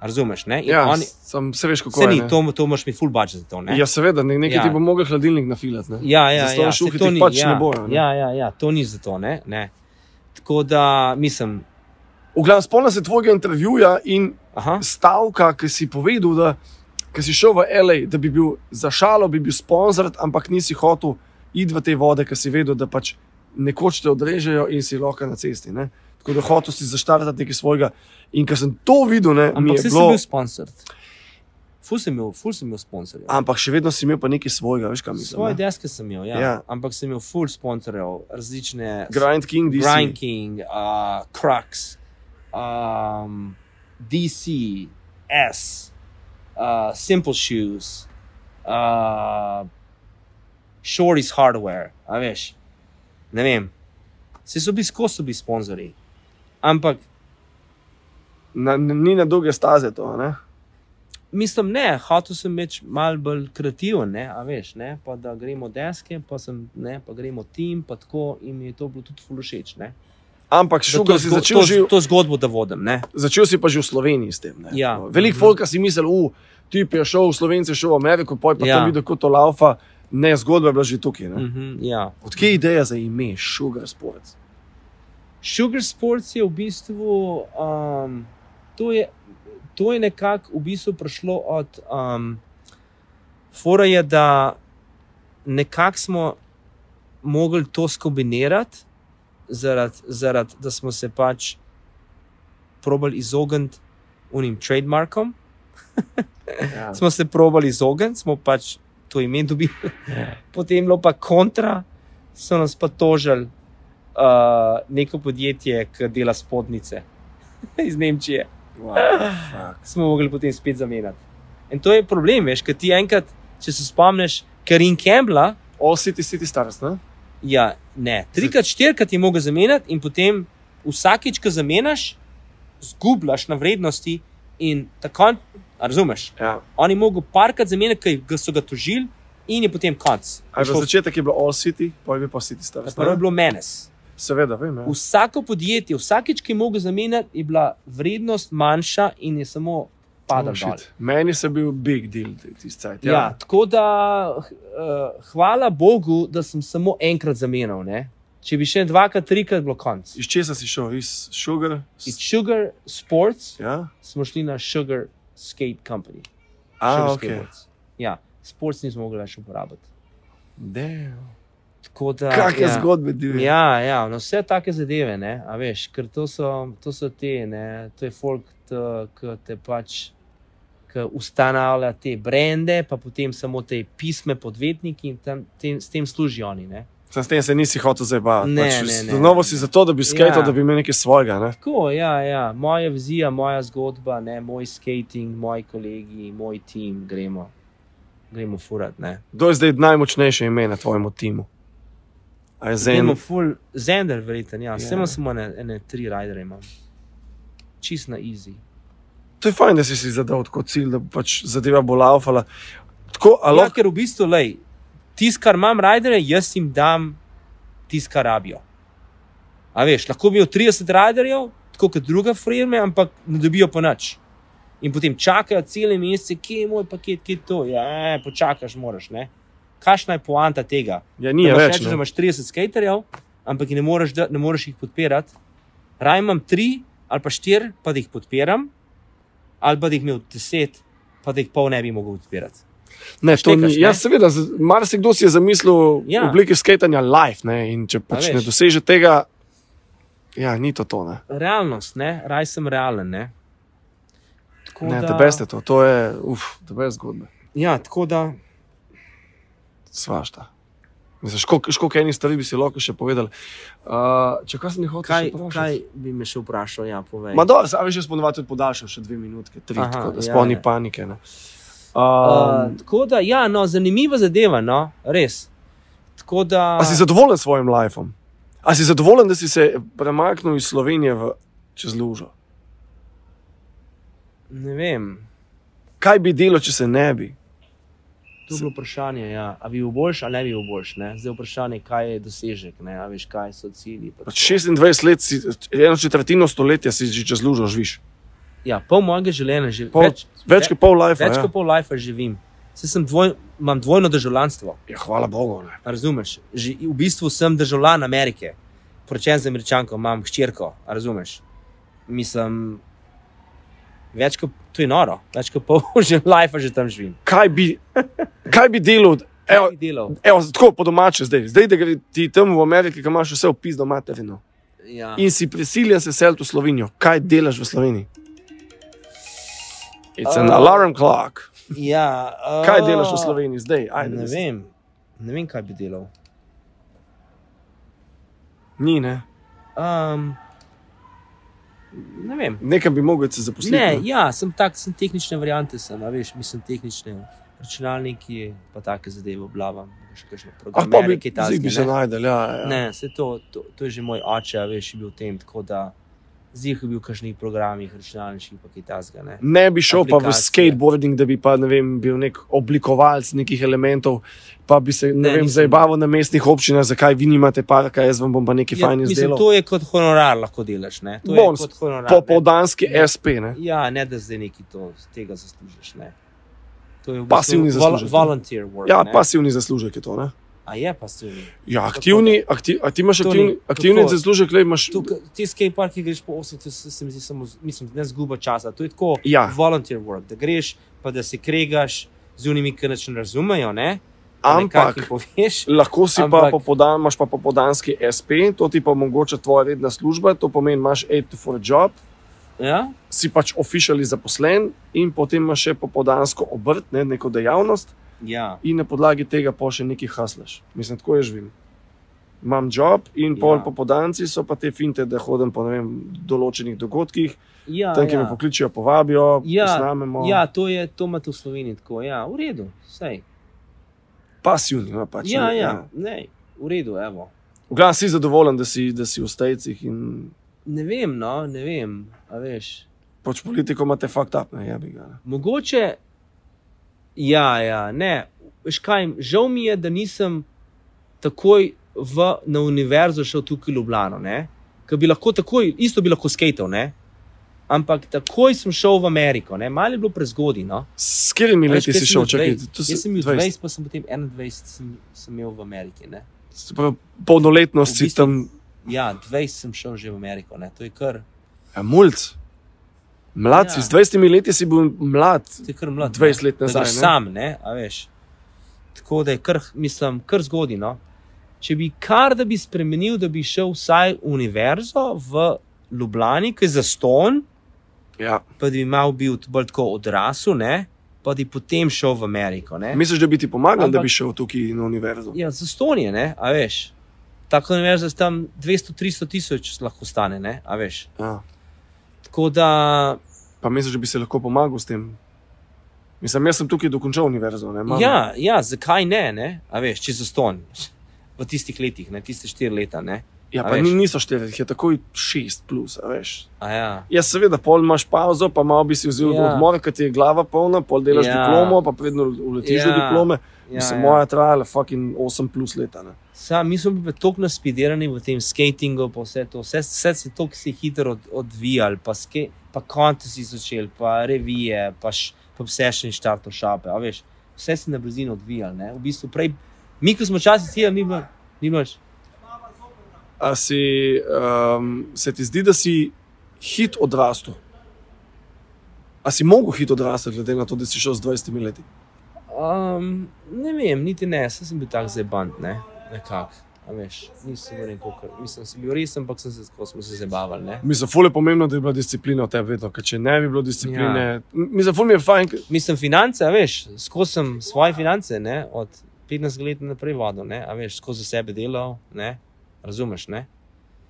Speaker 3: A Razumeš? Ne? In
Speaker 1: ja,
Speaker 3: oni,
Speaker 1: oni, sem, se veš, kako je.
Speaker 3: se ni,
Speaker 1: ne.
Speaker 3: to, to moraš mi full budget za to. Ne?
Speaker 1: Ja, seveda, ne, nekaj
Speaker 3: Ja.
Speaker 1: ja. ti bo mogel hladilnik nafilati. ne.
Speaker 3: ja, ja,
Speaker 1: Zastonj
Speaker 3: ja, saj
Speaker 1: šuhi
Speaker 3: to
Speaker 1: ti
Speaker 3: ni-
Speaker 1: pač
Speaker 3: ja,
Speaker 1: ne bojo, ne.
Speaker 3: Ja, ja, ja, to ni za to. Ne? Ne? Tako da mislim,
Speaker 1: V glavnem, spomnim se tvojega intervjuja in
Speaker 3: aha,
Speaker 1: stavka, ki si povedal, da ki si šel v L.A., da bi bil za šalo, bi bil sponzor, ampak nisi hotel iti v te vode, ker si vedel, da pač nekoč te odrežejo in si loka na cesti. Ne? Tako da hotel si zaštartati nekaj svojega. In ko sem to videl, ne, mi
Speaker 3: ampak
Speaker 1: je
Speaker 3: vse sem
Speaker 1: bilo.
Speaker 3: bil sponsor. Ful sem imel, ful sem ja. imel sponsorjev.
Speaker 1: Ampak še vedno si imel pa nekaj svojega, veš kam mislim.
Speaker 3: Svoje
Speaker 1: ne.
Speaker 3: deske sem imel,
Speaker 1: Ja.
Speaker 3: ja. ja. ampak sem imel full sponsorjev, različne
Speaker 1: Grind King, DC.
Speaker 3: Brian King, uh, Crux, um, DC, S, uh, Simple Shoes, uh, Shorty's Hardware, a veš. Ne vem, vsi so bili skozi bili sponzorji. Ampak
Speaker 1: Na, na, ni na dolge staze to. Ne?
Speaker 3: mislim, ne, hotel sem biti malo bolj kreativen, ne, a veš, ne, pa da gremo deske, pa sem, ne, pa gremo tim, pa tako in mi je to bilo tudi fulušeč, ne.
Speaker 1: Ampak
Speaker 3: Da
Speaker 1: šuga
Speaker 3: to
Speaker 1: si
Speaker 3: zgo-
Speaker 1: začel
Speaker 3: to-
Speaker 1: že.
Speaker 3: To zgodbo, da vodim, ne.
Speaker 1: Začel si pa že v Sloveniji s tem. ne.
Speaker 3: Ja.
Speaker 1: No, Veliko folka si mislil, da ti je šel v Slovenijo, šel v Ameriko, poj pa ja.
Speaker 3: Ja.
Speaker 1: tam videl kot to laufa. Ne, zgodba je bila že tukaj. Ne?
Speaker 3: Mhm, ja.
Speaker 1: Odkje je ideja za ime, šugar sporec?
Speaker 3: Sugar Sports je v bistvu, um, to je, to je nekako v bistvu prišlo od um, Fora, je, da nekako smo mogli to skombinirati, zaradi, zarad, da smo se pač probali izogniti unim trademarkom.
Speaker 1: Ja.
Speaker 3: Smo se probali izogniti, smo pač to ime dobili. Potem je bilo pa kontra, so nas pa tožili uh, neko podjetje, ki dela spodnice iz Nemčije.
Speaker 1: Wow,
Speaker 3: Smo mogli potem spet zamenjati. In to je problem, veš, ker ti enkrat, če se spomniš, Karin Campbell,
Speaker 1: All City City Stars, ne?
Speaker 3: ja, ne, trikrat, štirikrat je mogel zamenjati in potem vsakič, ko zamenjaš, zgubljaš na vrednosti in tako. a Razumeš?
Speaker 1: Ja.
Speaker 3: On je mogel parkrat zamenjati, ker so ga tožili, in je potem konc.
Speaker 1: A že začetek je bil All City, poj bi pa City Stars.
Speaker 3: Ja, Prvo je
Speaker 1: ne?
Speaker 3: bilo menes.
Speaker 1: Seveda, vem. Ja.
Speaker 3: Vsako podjetje, vsakič, ki je mogel zamenjati, je bila vrednost manjša in je samo padala.
Speaker 1: Oh,
Speaker 3: dol.
Speaker 1: shit. Meni se bil big deal tisti cajt.
Speaker 3: ja. Ja,
Speaker 1: Ja.
Speaker 3: tako da, uh, hvala Bogu, da sem samo enkrat zamenjal. Ne? Če bi še dvakrat, trikrat bilo konc.
Speaker 1: Iz česa si šel? Iz šugar?
Speaker 3: Iz Sugar Sports
Speaker 1: Ja.
Speaker 3: smo šli na Sugar Skate Company. Sugar
Speaker 1: A, ok.
Speaker 3: Skateboards. Ja, sports nismo mogli več uporabiti.
Speaker 1: Damn.
Speaker 3: Tako da,
Speaker 1: Kakšne
Speaker 3: ja.
Speaker 1: zgodbe, divje.
Speaker 3: Ja, ja no, vse take zadeve, ne, a veš, ker to so, to so te, ne, to je folk, t- ki te pač ki ustanavlja te brende, pa potem samo te pisme, podvetniki in tam, tem, s tem služijo oni. Ne.
Speaker 1: Sam s tem se nisi hotel zabavati.
Speaker 3: Ne,
Speaker 1: pač,
Speaker 3: ne, ne.
Speaker 1: na Novo si zato, da bi skatal,
Speaker 3: Ja.
Speaker 1: da bi imel nekaj svojega. Ne?
Speaker 3: Tako, ja, ja, moja vizija, moja zgodba, ne, moj skating, moji kolegi, moj tim, gremo, gremo furat. Ne.
Speaker 1: Kdo je zdaj najmočnejše ime na tvojem timu? A je Zen?
Speaker 3: Zemo full, zender, verjeten, ja,
Speaker 1: Ja.
Speaker 3: yeah. samo samo ene, ene tri rajdere imam. Čist na easy.
Speaker 1: To je fajn, da si si zadal tako cilj, da pač zadeva bo laufala. Tako, a
Speaker 3: Ja,
Speaker 1: lahko.
Speaker 3: ker v bistvu, lej, tisto, kar imam rajdere, jaz jim dam tisto, kar rabijo. A veš, lahko bi imel 30 rajderjev, tako kot druga firma, ampak ne dobijo pa nič. In potem čakajo cele mesece, kje je moj paket, kje je to. Ja, počakaš, ja, moraš, ne. kakšna je poanta tega.
Speaker 1: Ja, ni je
Speaker 3: da imaš
Speaker 1: več.
Speaker 3: rečeš, da
Speaker 1: ne.
Speaker 3: imaš 30 skaterjev, ampak jih ne moreš, da, ne moreš jih podpirati. Raj imam tri ali pa štiri, pa da jih podpiram, ali pa da jih imel deset, pa da jih pol ne bi mogel podpirati.
Speaker 1: Ne, to
Speaker 3: Štekaš,
Speaker 1: ni,
Speaker 3: ne?
Speaker 1: ja, seveda, z- marsikdo si je zamislil ja.
Speaker 3: Ja.
Speaker 1: oblike sketanja live. Ne, in če pač
Speaker 3: veš.
Speaker 1: ne doseže tega, ja, ni to to. Ne,
Speaker 3: Realnost, ne? raj sem realen. Ne? Tako
Speaker 1: ne te beste to, to je, uf, te beste zgodbe.
Speaker 3: Ja, tako da.
Speaker 1: Svašta. Misliš, koliko koliko enih stvari bi si lahko še povedal. Uh, če kaj sem jih hotel,
Speaker 3: Kaj,
Speaker 1: še vprašati?
Speaker 3: kaj bi me še vprašal? Ja, povej.
Speaker 1: Ma dobro, sami že sponovati tudi podaljšal še dve minutke, tri, Aha,
Speaker 3: Aha,
Speaker 1: tako da
Speaker 3: ja,
Speaker 1: sponi ja,
Speaker 3: ja.
Speaker 1: panike. Ne.
Speaker 3: Uh,
Speaker 1: Um,
Speaker 3: tako da, ja, no, zanimiva zadeva, no, res. Tako da,
Speaker 1: a si zadovoljen s svojim lifeom? A si zadovoljen, da si se premaknil iz Slovenije v, čez lužo?
Speaker 3: ne vem,
Speaker 1: Kaj bi delo, če se ne bi?
Speaker 3: to je bilo vprašanje. Ja. A bi bil boljš, ali ne bi bil boljš? Ne? Zdaj je vprašanje, kaj je dosežek, ne? a veš, kaj so cilji.
Speaker 1: Pač 26 let, si, eno četrtino stoletja si že čez lužo živiš.
Speaker 3: Ja, pol mojega življenja že
Speaker 1: Pol,
Speaker 3: več,
Speaker 1: več, več kot pol life.
Speaker 3: več
Speaker 1: Ja.
Speaker 3: kot pol life živim. Saj sem dvoj, imam dvojno državljanstvo.
Speaker 1: Ja, hvala Bogu. Ne.
Speaker 3: Razumeš? Že, v bistvu sem državljan Amerike, poročen z Američanko, imam hčerko, a razumeš? Mislim, več kot to je noro, več kot pol že life že tam živim.
Speaker 1: Kaj bi, kaj bi delal?
Speaker 3: Kaj
Speaker 1: Evo,
Speaker 3: bi delal?
Speaker 1: evo, tako po domače zdaj. Zdaj, da gre ti tam v Ameriki, ki imaš vse opisno materino.
Speaker 3: Ja.
Speaker 1: in si prisiljen se seliti v Slovenijo. Kaj delaš v Sloveniji? It's an
Speaker 3: Ah.
Speaker 1: alarm clock.
Speaker 3: Ja,
Speaker 1: Kaj
Speaker 3: a,
Speaker 1: delaš v Sloveniji zdaj? Ajde,
Speaker 3: Ne
Speaker 1: da si-
Speaker 3: vem, ne vem, kaj bi delal.
Speaker 1: Ni, ne.
Speaker 3: Um, ne vem.
Speaker 1: Nekam bi mogel se no. zaposliti.
Speaker 3: Ne,
Speaker 1: ne?
Speaker 3: ja, sem tak, sem tehnične variante, sem, a veš, mislim tehnične računalniki, pa take zadeve oblavam, še kakšne
Speaker 1: Ah, pa
Speaker 3: programe,
Speaker 1: bi,
Speaker 3: ki
Speaker 1: zdaj bi se najdel. Ja, ja.
Speaker 3: Ne, se to, to, to je že moj oče, a veš, je bil v tem, tako da zdaj je bil v kakšnih programih, računalniških, pa kaj tasga. Ne.
Speaker 1: ne bi šel pa v
Speaker 3: Aplikacije.
Speaker 1: skateboarding, da bi pa, ne vem, bil nek oblikovalec nekih elementov, pa bi se ne, ne
Speaker 3: Ne,
Speaker 1: vem,
Speaker 3: nisem.
Speaker 1: zabaval na mestnih občinah, zakaj vi nimate parka, jaz vam bom pa nekaj ja, fajn
Speaker 3: mislim,
Speaker 1: izdelal.
Speaker 3: to je kot honorar, lahko delaš. Ne? To
Speaker 1: Bom,
Speaker 3: je kot honorar. ne.
Speaker 1: Popoldanski SP. Ne?
Speaker 3: Ja, ne da zdaj neki to, tega zaslužiš. Ne. To je v bistvu
Speaker 1: Pasivni
Speaker 3: vol-
Speaker 1: zaslužek, ne.
Speaker 3: Volunteer work.
Speaker 1: Ja,
Speaker 3: ne.
Speaker 1: pasivni zaslužek je to. Ne?
Speaker 3: A je pasivni.
Speaker 1: Ja, aktivni, akti, a ti imaš
Speaker 3: To ni-
Speaker 1: aktivni, aktivni
Speaker 3: tako.
Speaker 1: zaslužek, le imaš.
Speaker 3: Tukaj, ti skateparki greš po 8, se, se mi zdi samo, z- mislim, ne zguba časa. To je tako
Speaker 1: Ja.
Speaker 3: volunteer work, da greš, pa da se kregaš z unimi, ki nič ne razumejo, ne? Pa nekako jim
Speaker 1: Ampak
Speaker 3: poveš.
Speaker 1: lahko si pa
Speaker 3: Ampak-
Speaker 1: popodan, imaš pa popodanski SP, to ti pa omogoča tvoja redna služba, to pomeni, imaš 8 for a job,
Speaker 3: Ja?
Speaker 1: si pač oficially zaposlen in potem imaš še popodansko obrt, ne, neko dejavnost
Speaker 3: Ja.
Speaker 1: in na podlagi tega pa še nekaj haslaš. Mislim, tako je živim. Imam job in pol
Speaker 3: Ja.
Speaker 1: popodanci so pa te finte, da hodim po ne vem, določenih dogodkih,
Speaker 3: Ja,
Speaker 1: tam, kjer me
Speaker 3: ja.
Speaker 1: pokličijo, povabijo,
Speaker 3: Ja,
Speaker 1: posnamemo.
Speaker 3: ja, to je to imate v Sloveniji tako. Ja, v redu, vse.
Speaker 1: Pasivni, no, pač.
Speaker 3: Ja,
Speaker 1: ne,
Speaker 3: ja, ne, v redu, evo.
Speaker 1: V glavnem si zadovoljen, da si, da si v Stejcih in
Speaker 3: Ne vem, no, ne vem, a veš.
Speaker 1: pač politiko imate fakt up, ne jabi ga. Ne.
Speaker 3: Mogoče, ja, ja ne. Veš kaj, žal mi je, da nisem takoj v, na univerzo šel tukaj v Ljubljano, ne? ker bi lahko takoj, isto bi lahko skateal, ne? ampak takoj sem šel v Ameriko, ne? malo je bilo prezgodaj. No?
Speaker 1: S katerimi
Speaker 3: A veš,
Speaker 1: leti
Speaker 3: kaj
Speaker 1: si
Speaker 3: sem
Speaker 1: šel,
Speaker 3: bil
Speaker 1: čakaj,
Speaker 3: 20?
Speaker 1: to si-
Speaker 3: Jaz sem bil
Speaker 1: 20.
Speaker 3: 20, pa sem potem 21 sem, sem imel v Ameriki. Ne?
Speaker 1: Se pravi, Polnoletnost
Speaker 3: V
Speaker 1: si
Speaker 3: bistvu-
Speaker 1: tam,
Speaker 3: Ja, 20 sem šel že v Ameriko, ne? to je kar,
Speaker 1: ja, mulj. Mlad
Speaker 3: Ja.
Speaker 1: si, z 20 leti si bil mlad.
Speaker 3: to je kar mlad.
Speaker 1: 20 let
Speaker 3: ne? Da
Speaker 1: nazaj,
Speaker 3: greš
Speaker 1: ne?
Speaker 3: Sam, ne, a veš. Tako da je kar, mislim, kar zgodaj. No? Če bi kar da bi spremenil, da bi šel vsaj univerzo v Ljubljani, ki je zaston,
Speaker 1: Ja.
Speaker 3: pa da bi mal bil t- bolj tako odrasel, ne? pa da bi potem šel v Ameriko. Ne?
Speaker 1: Misliš, da bi ti pomagal, da
Speaker 3: Ja. Ampak-
Speaker 1: bi šel tukaj na univerzo?
Speaker 3: Ja, zaston je, ne? a veš. Tako univerza tam 200-300 tisoč lahko stane, ne? a veš.
Speaker 1: Ja.
Speaker 3: Tako da
Speaker 1: Pa misliš, da bi se lahko pomagal s tem? Mislim, jaz sem tukaj dokončal univerzo. Ne, mama.
Speaker 3: Ja, ja, zakaj ne, ne? A veš, če zaston v tistih letih, ne tiste štiri leta. Ne?
Speaker 1: ja
Speaker 3: a
Speaker 1: pa
Speaker 3: veš.
Speaker 1: ni, niso štiri, jih je takoj šest plus, a veš.
Speaker 3: A Ja.
Speaker 1: Ja, seveda, pol imaš pauzo, pa malo bi si vzel ja.
Speaker 3: Ja.
Speaker 1: odmor, ker ti je glava polna, pol delaš ja.
Speaker 3: Ja.
Speaker 1: diplomo, pa predno uletiš ja. do
Speaker 3: Ja.
Speaker 1: diplome. Ja,
Speaker 3: Ja,
Speaker 1: Mislim, ja.
Speaker 3: ja.
Speaker 1: Moja trajala fucking 8 plus leta. Ne.
Speaker 3: Sam, mi smo bili tako naspiderani v tem skatingu, pa vse to, vse, vse se je tako se je hitro od, odvijalo, pa, ske- pa kontesi so začeli, pa revije, pa, š, pa vse še in štarto šape. a Veš, vse se je na brzino odvijalo. ne. V bistvu prej, Mi, ko smo včasih sijali, ni bilo, ni bilo. več.
Speaker 1: A si, um, se ti zdi, da si hit odrastel? A si mogel hit odrasti, glede na to, da si šel z 20 leti?
Speaker 3: Um, ne vem, niti ne, jaz sem bil tak zeban, ne, nekako. a Veš, nisem bil nekako, mislim, sem bil resen, ampak sem se, tako smo se zabavali. Ne.
Speaker 1: Mislim, ful je pomembno, da je bila disciplina v tebi vedno, ker če ne bi bilo discipline, ja.
Speaker 3: Ja.
Speaker 1: mislim, ful mi je fajn, ke-
Speaker 3: Mislim, finance, a veš, skozi sem svoje finance, ne, od 15 let naprej vodil, ne, a veš, skozi sebe delal, ne, razumeš, ne.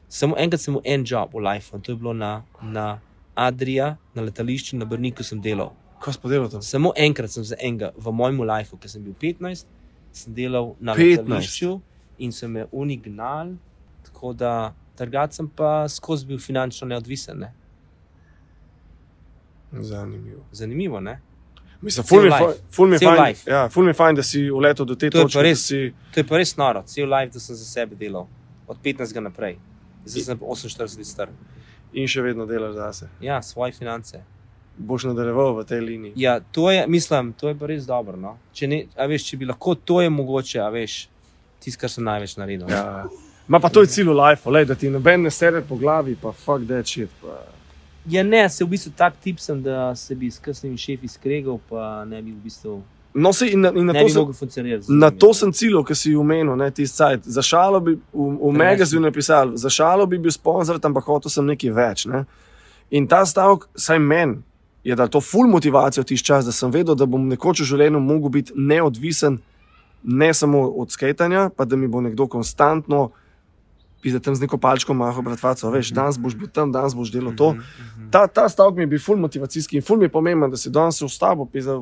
Speaker 3: Samo enkrat sem imel en job v life, in to je bilo na, na Adria, na letališču, na Brniku sem delal.
Speaker 1: kaj smo delali tam.
Speaker 3: Samo enkrat sem za enega v mojem lifeu, ki sem bil 15, sem delal na
Speaker 1: 15.
Speaker 3: letališču in sem me unignal, tako da trgat sem pa skozi bil finančno neodvisen. Ne?
Speaker 1: Zanimivo.
Speaker 3: Zanimivo, ne?
Speaker 1: Mislim, ful mi je
Speaker 3: Cel
Speaker 1: fajn-
Speaker 3: life.
Speaker 1: ful mi je
Speaker 3: Cel
Speaker 1: fajn,
Speaker 3: life.
Speaker 1: ja, ful mi je fajn, da si uletel do te
Speaker 3: To je pa
Speaker 1: točke. da
Speaker 3: res.
Speaker 1: si-
Speaker 3: To je pa res noro, cel life, da sem za sebe delal, od 15 naprej. Zdaj sem 48 let star.
Speaker 1: In še vedno delaš zase.
Speaker 3: Ja, svoje finance.
Speaker 1: Boš nadaljeval v tej liniji.
Speaker 3: Ja, to je, mislim, to je pa res dobro. No? Če, ne, a veš, če bi lahko, to je mogoče, a veš, tisto, kar sem največ naredil. ne.
Speaker 1: Ja. Ma pa to je cilj v življenju, da ti noben ne sere po glavi, pa fuck that shit. Pa.
Speaker 3: Ja, ne, se v bistvu tak tip sem, da se bi s kasnimi šefi skregal, pa ne bi v bistvu
Speaker 1: No, se, in na, in na,
Speaker 3: ne
Speaker 1: to
Speaker 3: bi
Speaker 1: sem,
Speaker 3: mogel funkcionirati. z
Speaker 1: na
Speaker 3: njimi.
Speaker 1: to sem ciljal, ki si umenil, ne tisti sajt. Za šalo bi v, v magazinu napisal, za šalo bi bil sponzor, ampak hotel sem nekaj več. Ne? In ta stavek, saj meni, je dal to ful motivacijo tiš čas, da sem vedel, da bom nekoč v življenju mogel biti neodvisen, ne samo od skajanja, pa da mi bo nekdo konstantno. Pizde tam z neko palčko maho, bratvaco, veš, danes boš bil tam, danes boš delal to. Ta, ta stavek mi je bil ful motivacijski in ful mi je pomemben, da si danes v stavu, pizde,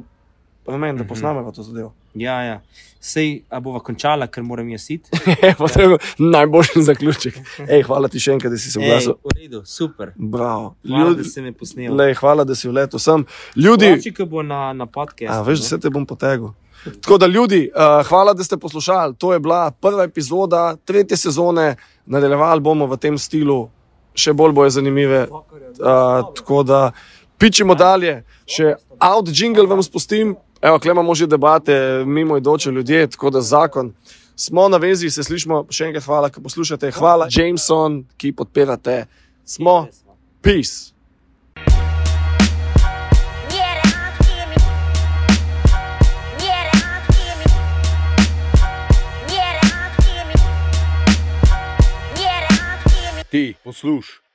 Speaker 1: pa meni, da
Speaker 3: Mhm.
Speaker 1: poznamo to zadevo.
Speaker 3: Ja, ja. Sej, a bova končala, ker moram jaz iti.
Speaker 1: Evo, to je bil najboljši zaključek. Ej, hvala ti še enkrat, da si se
Speaker 3: Ej,
Speaker 1: oglasil.
Speaker 3: V redu, super.
Speaker 1: Bravo.
Speaker 3: Hvala,
Speaker 1: Ljudi,
Speaker 3: da si me posnel.
Speaker 1: lej, hvala, da si vletel sem. Ljudi,
Speaker 3: Oči, ki bo na, no? na podkastu.
Speaker 1: a, veš, da
Speaker 3: ne.
Speaker 1: se te bom potegel. Tako da, ljudi, uh, hvala, da ste poslušali. To je bila prva epizoda tretje sezone, nadaljevali bomo v tem stilu, še bolj boje zanimive. Uh, tako da, pičimo dalje, še out jingle vam spustim. Evo, kle imamo že debate, mimo idoče ljudje, tako da zakon. Smo na vezi, se slišmo, še enkrat hvala, ki poslušate. Hvala, Jameson, ki podpirate. Smo,
Speaker 3: no.
Speaker 1: peace.
Speaker 4: Get out, Jimmy. Get out, Jimmy. Get out, Jimmy. Get out, Jimmy.
Speaker 2: Ти послуш.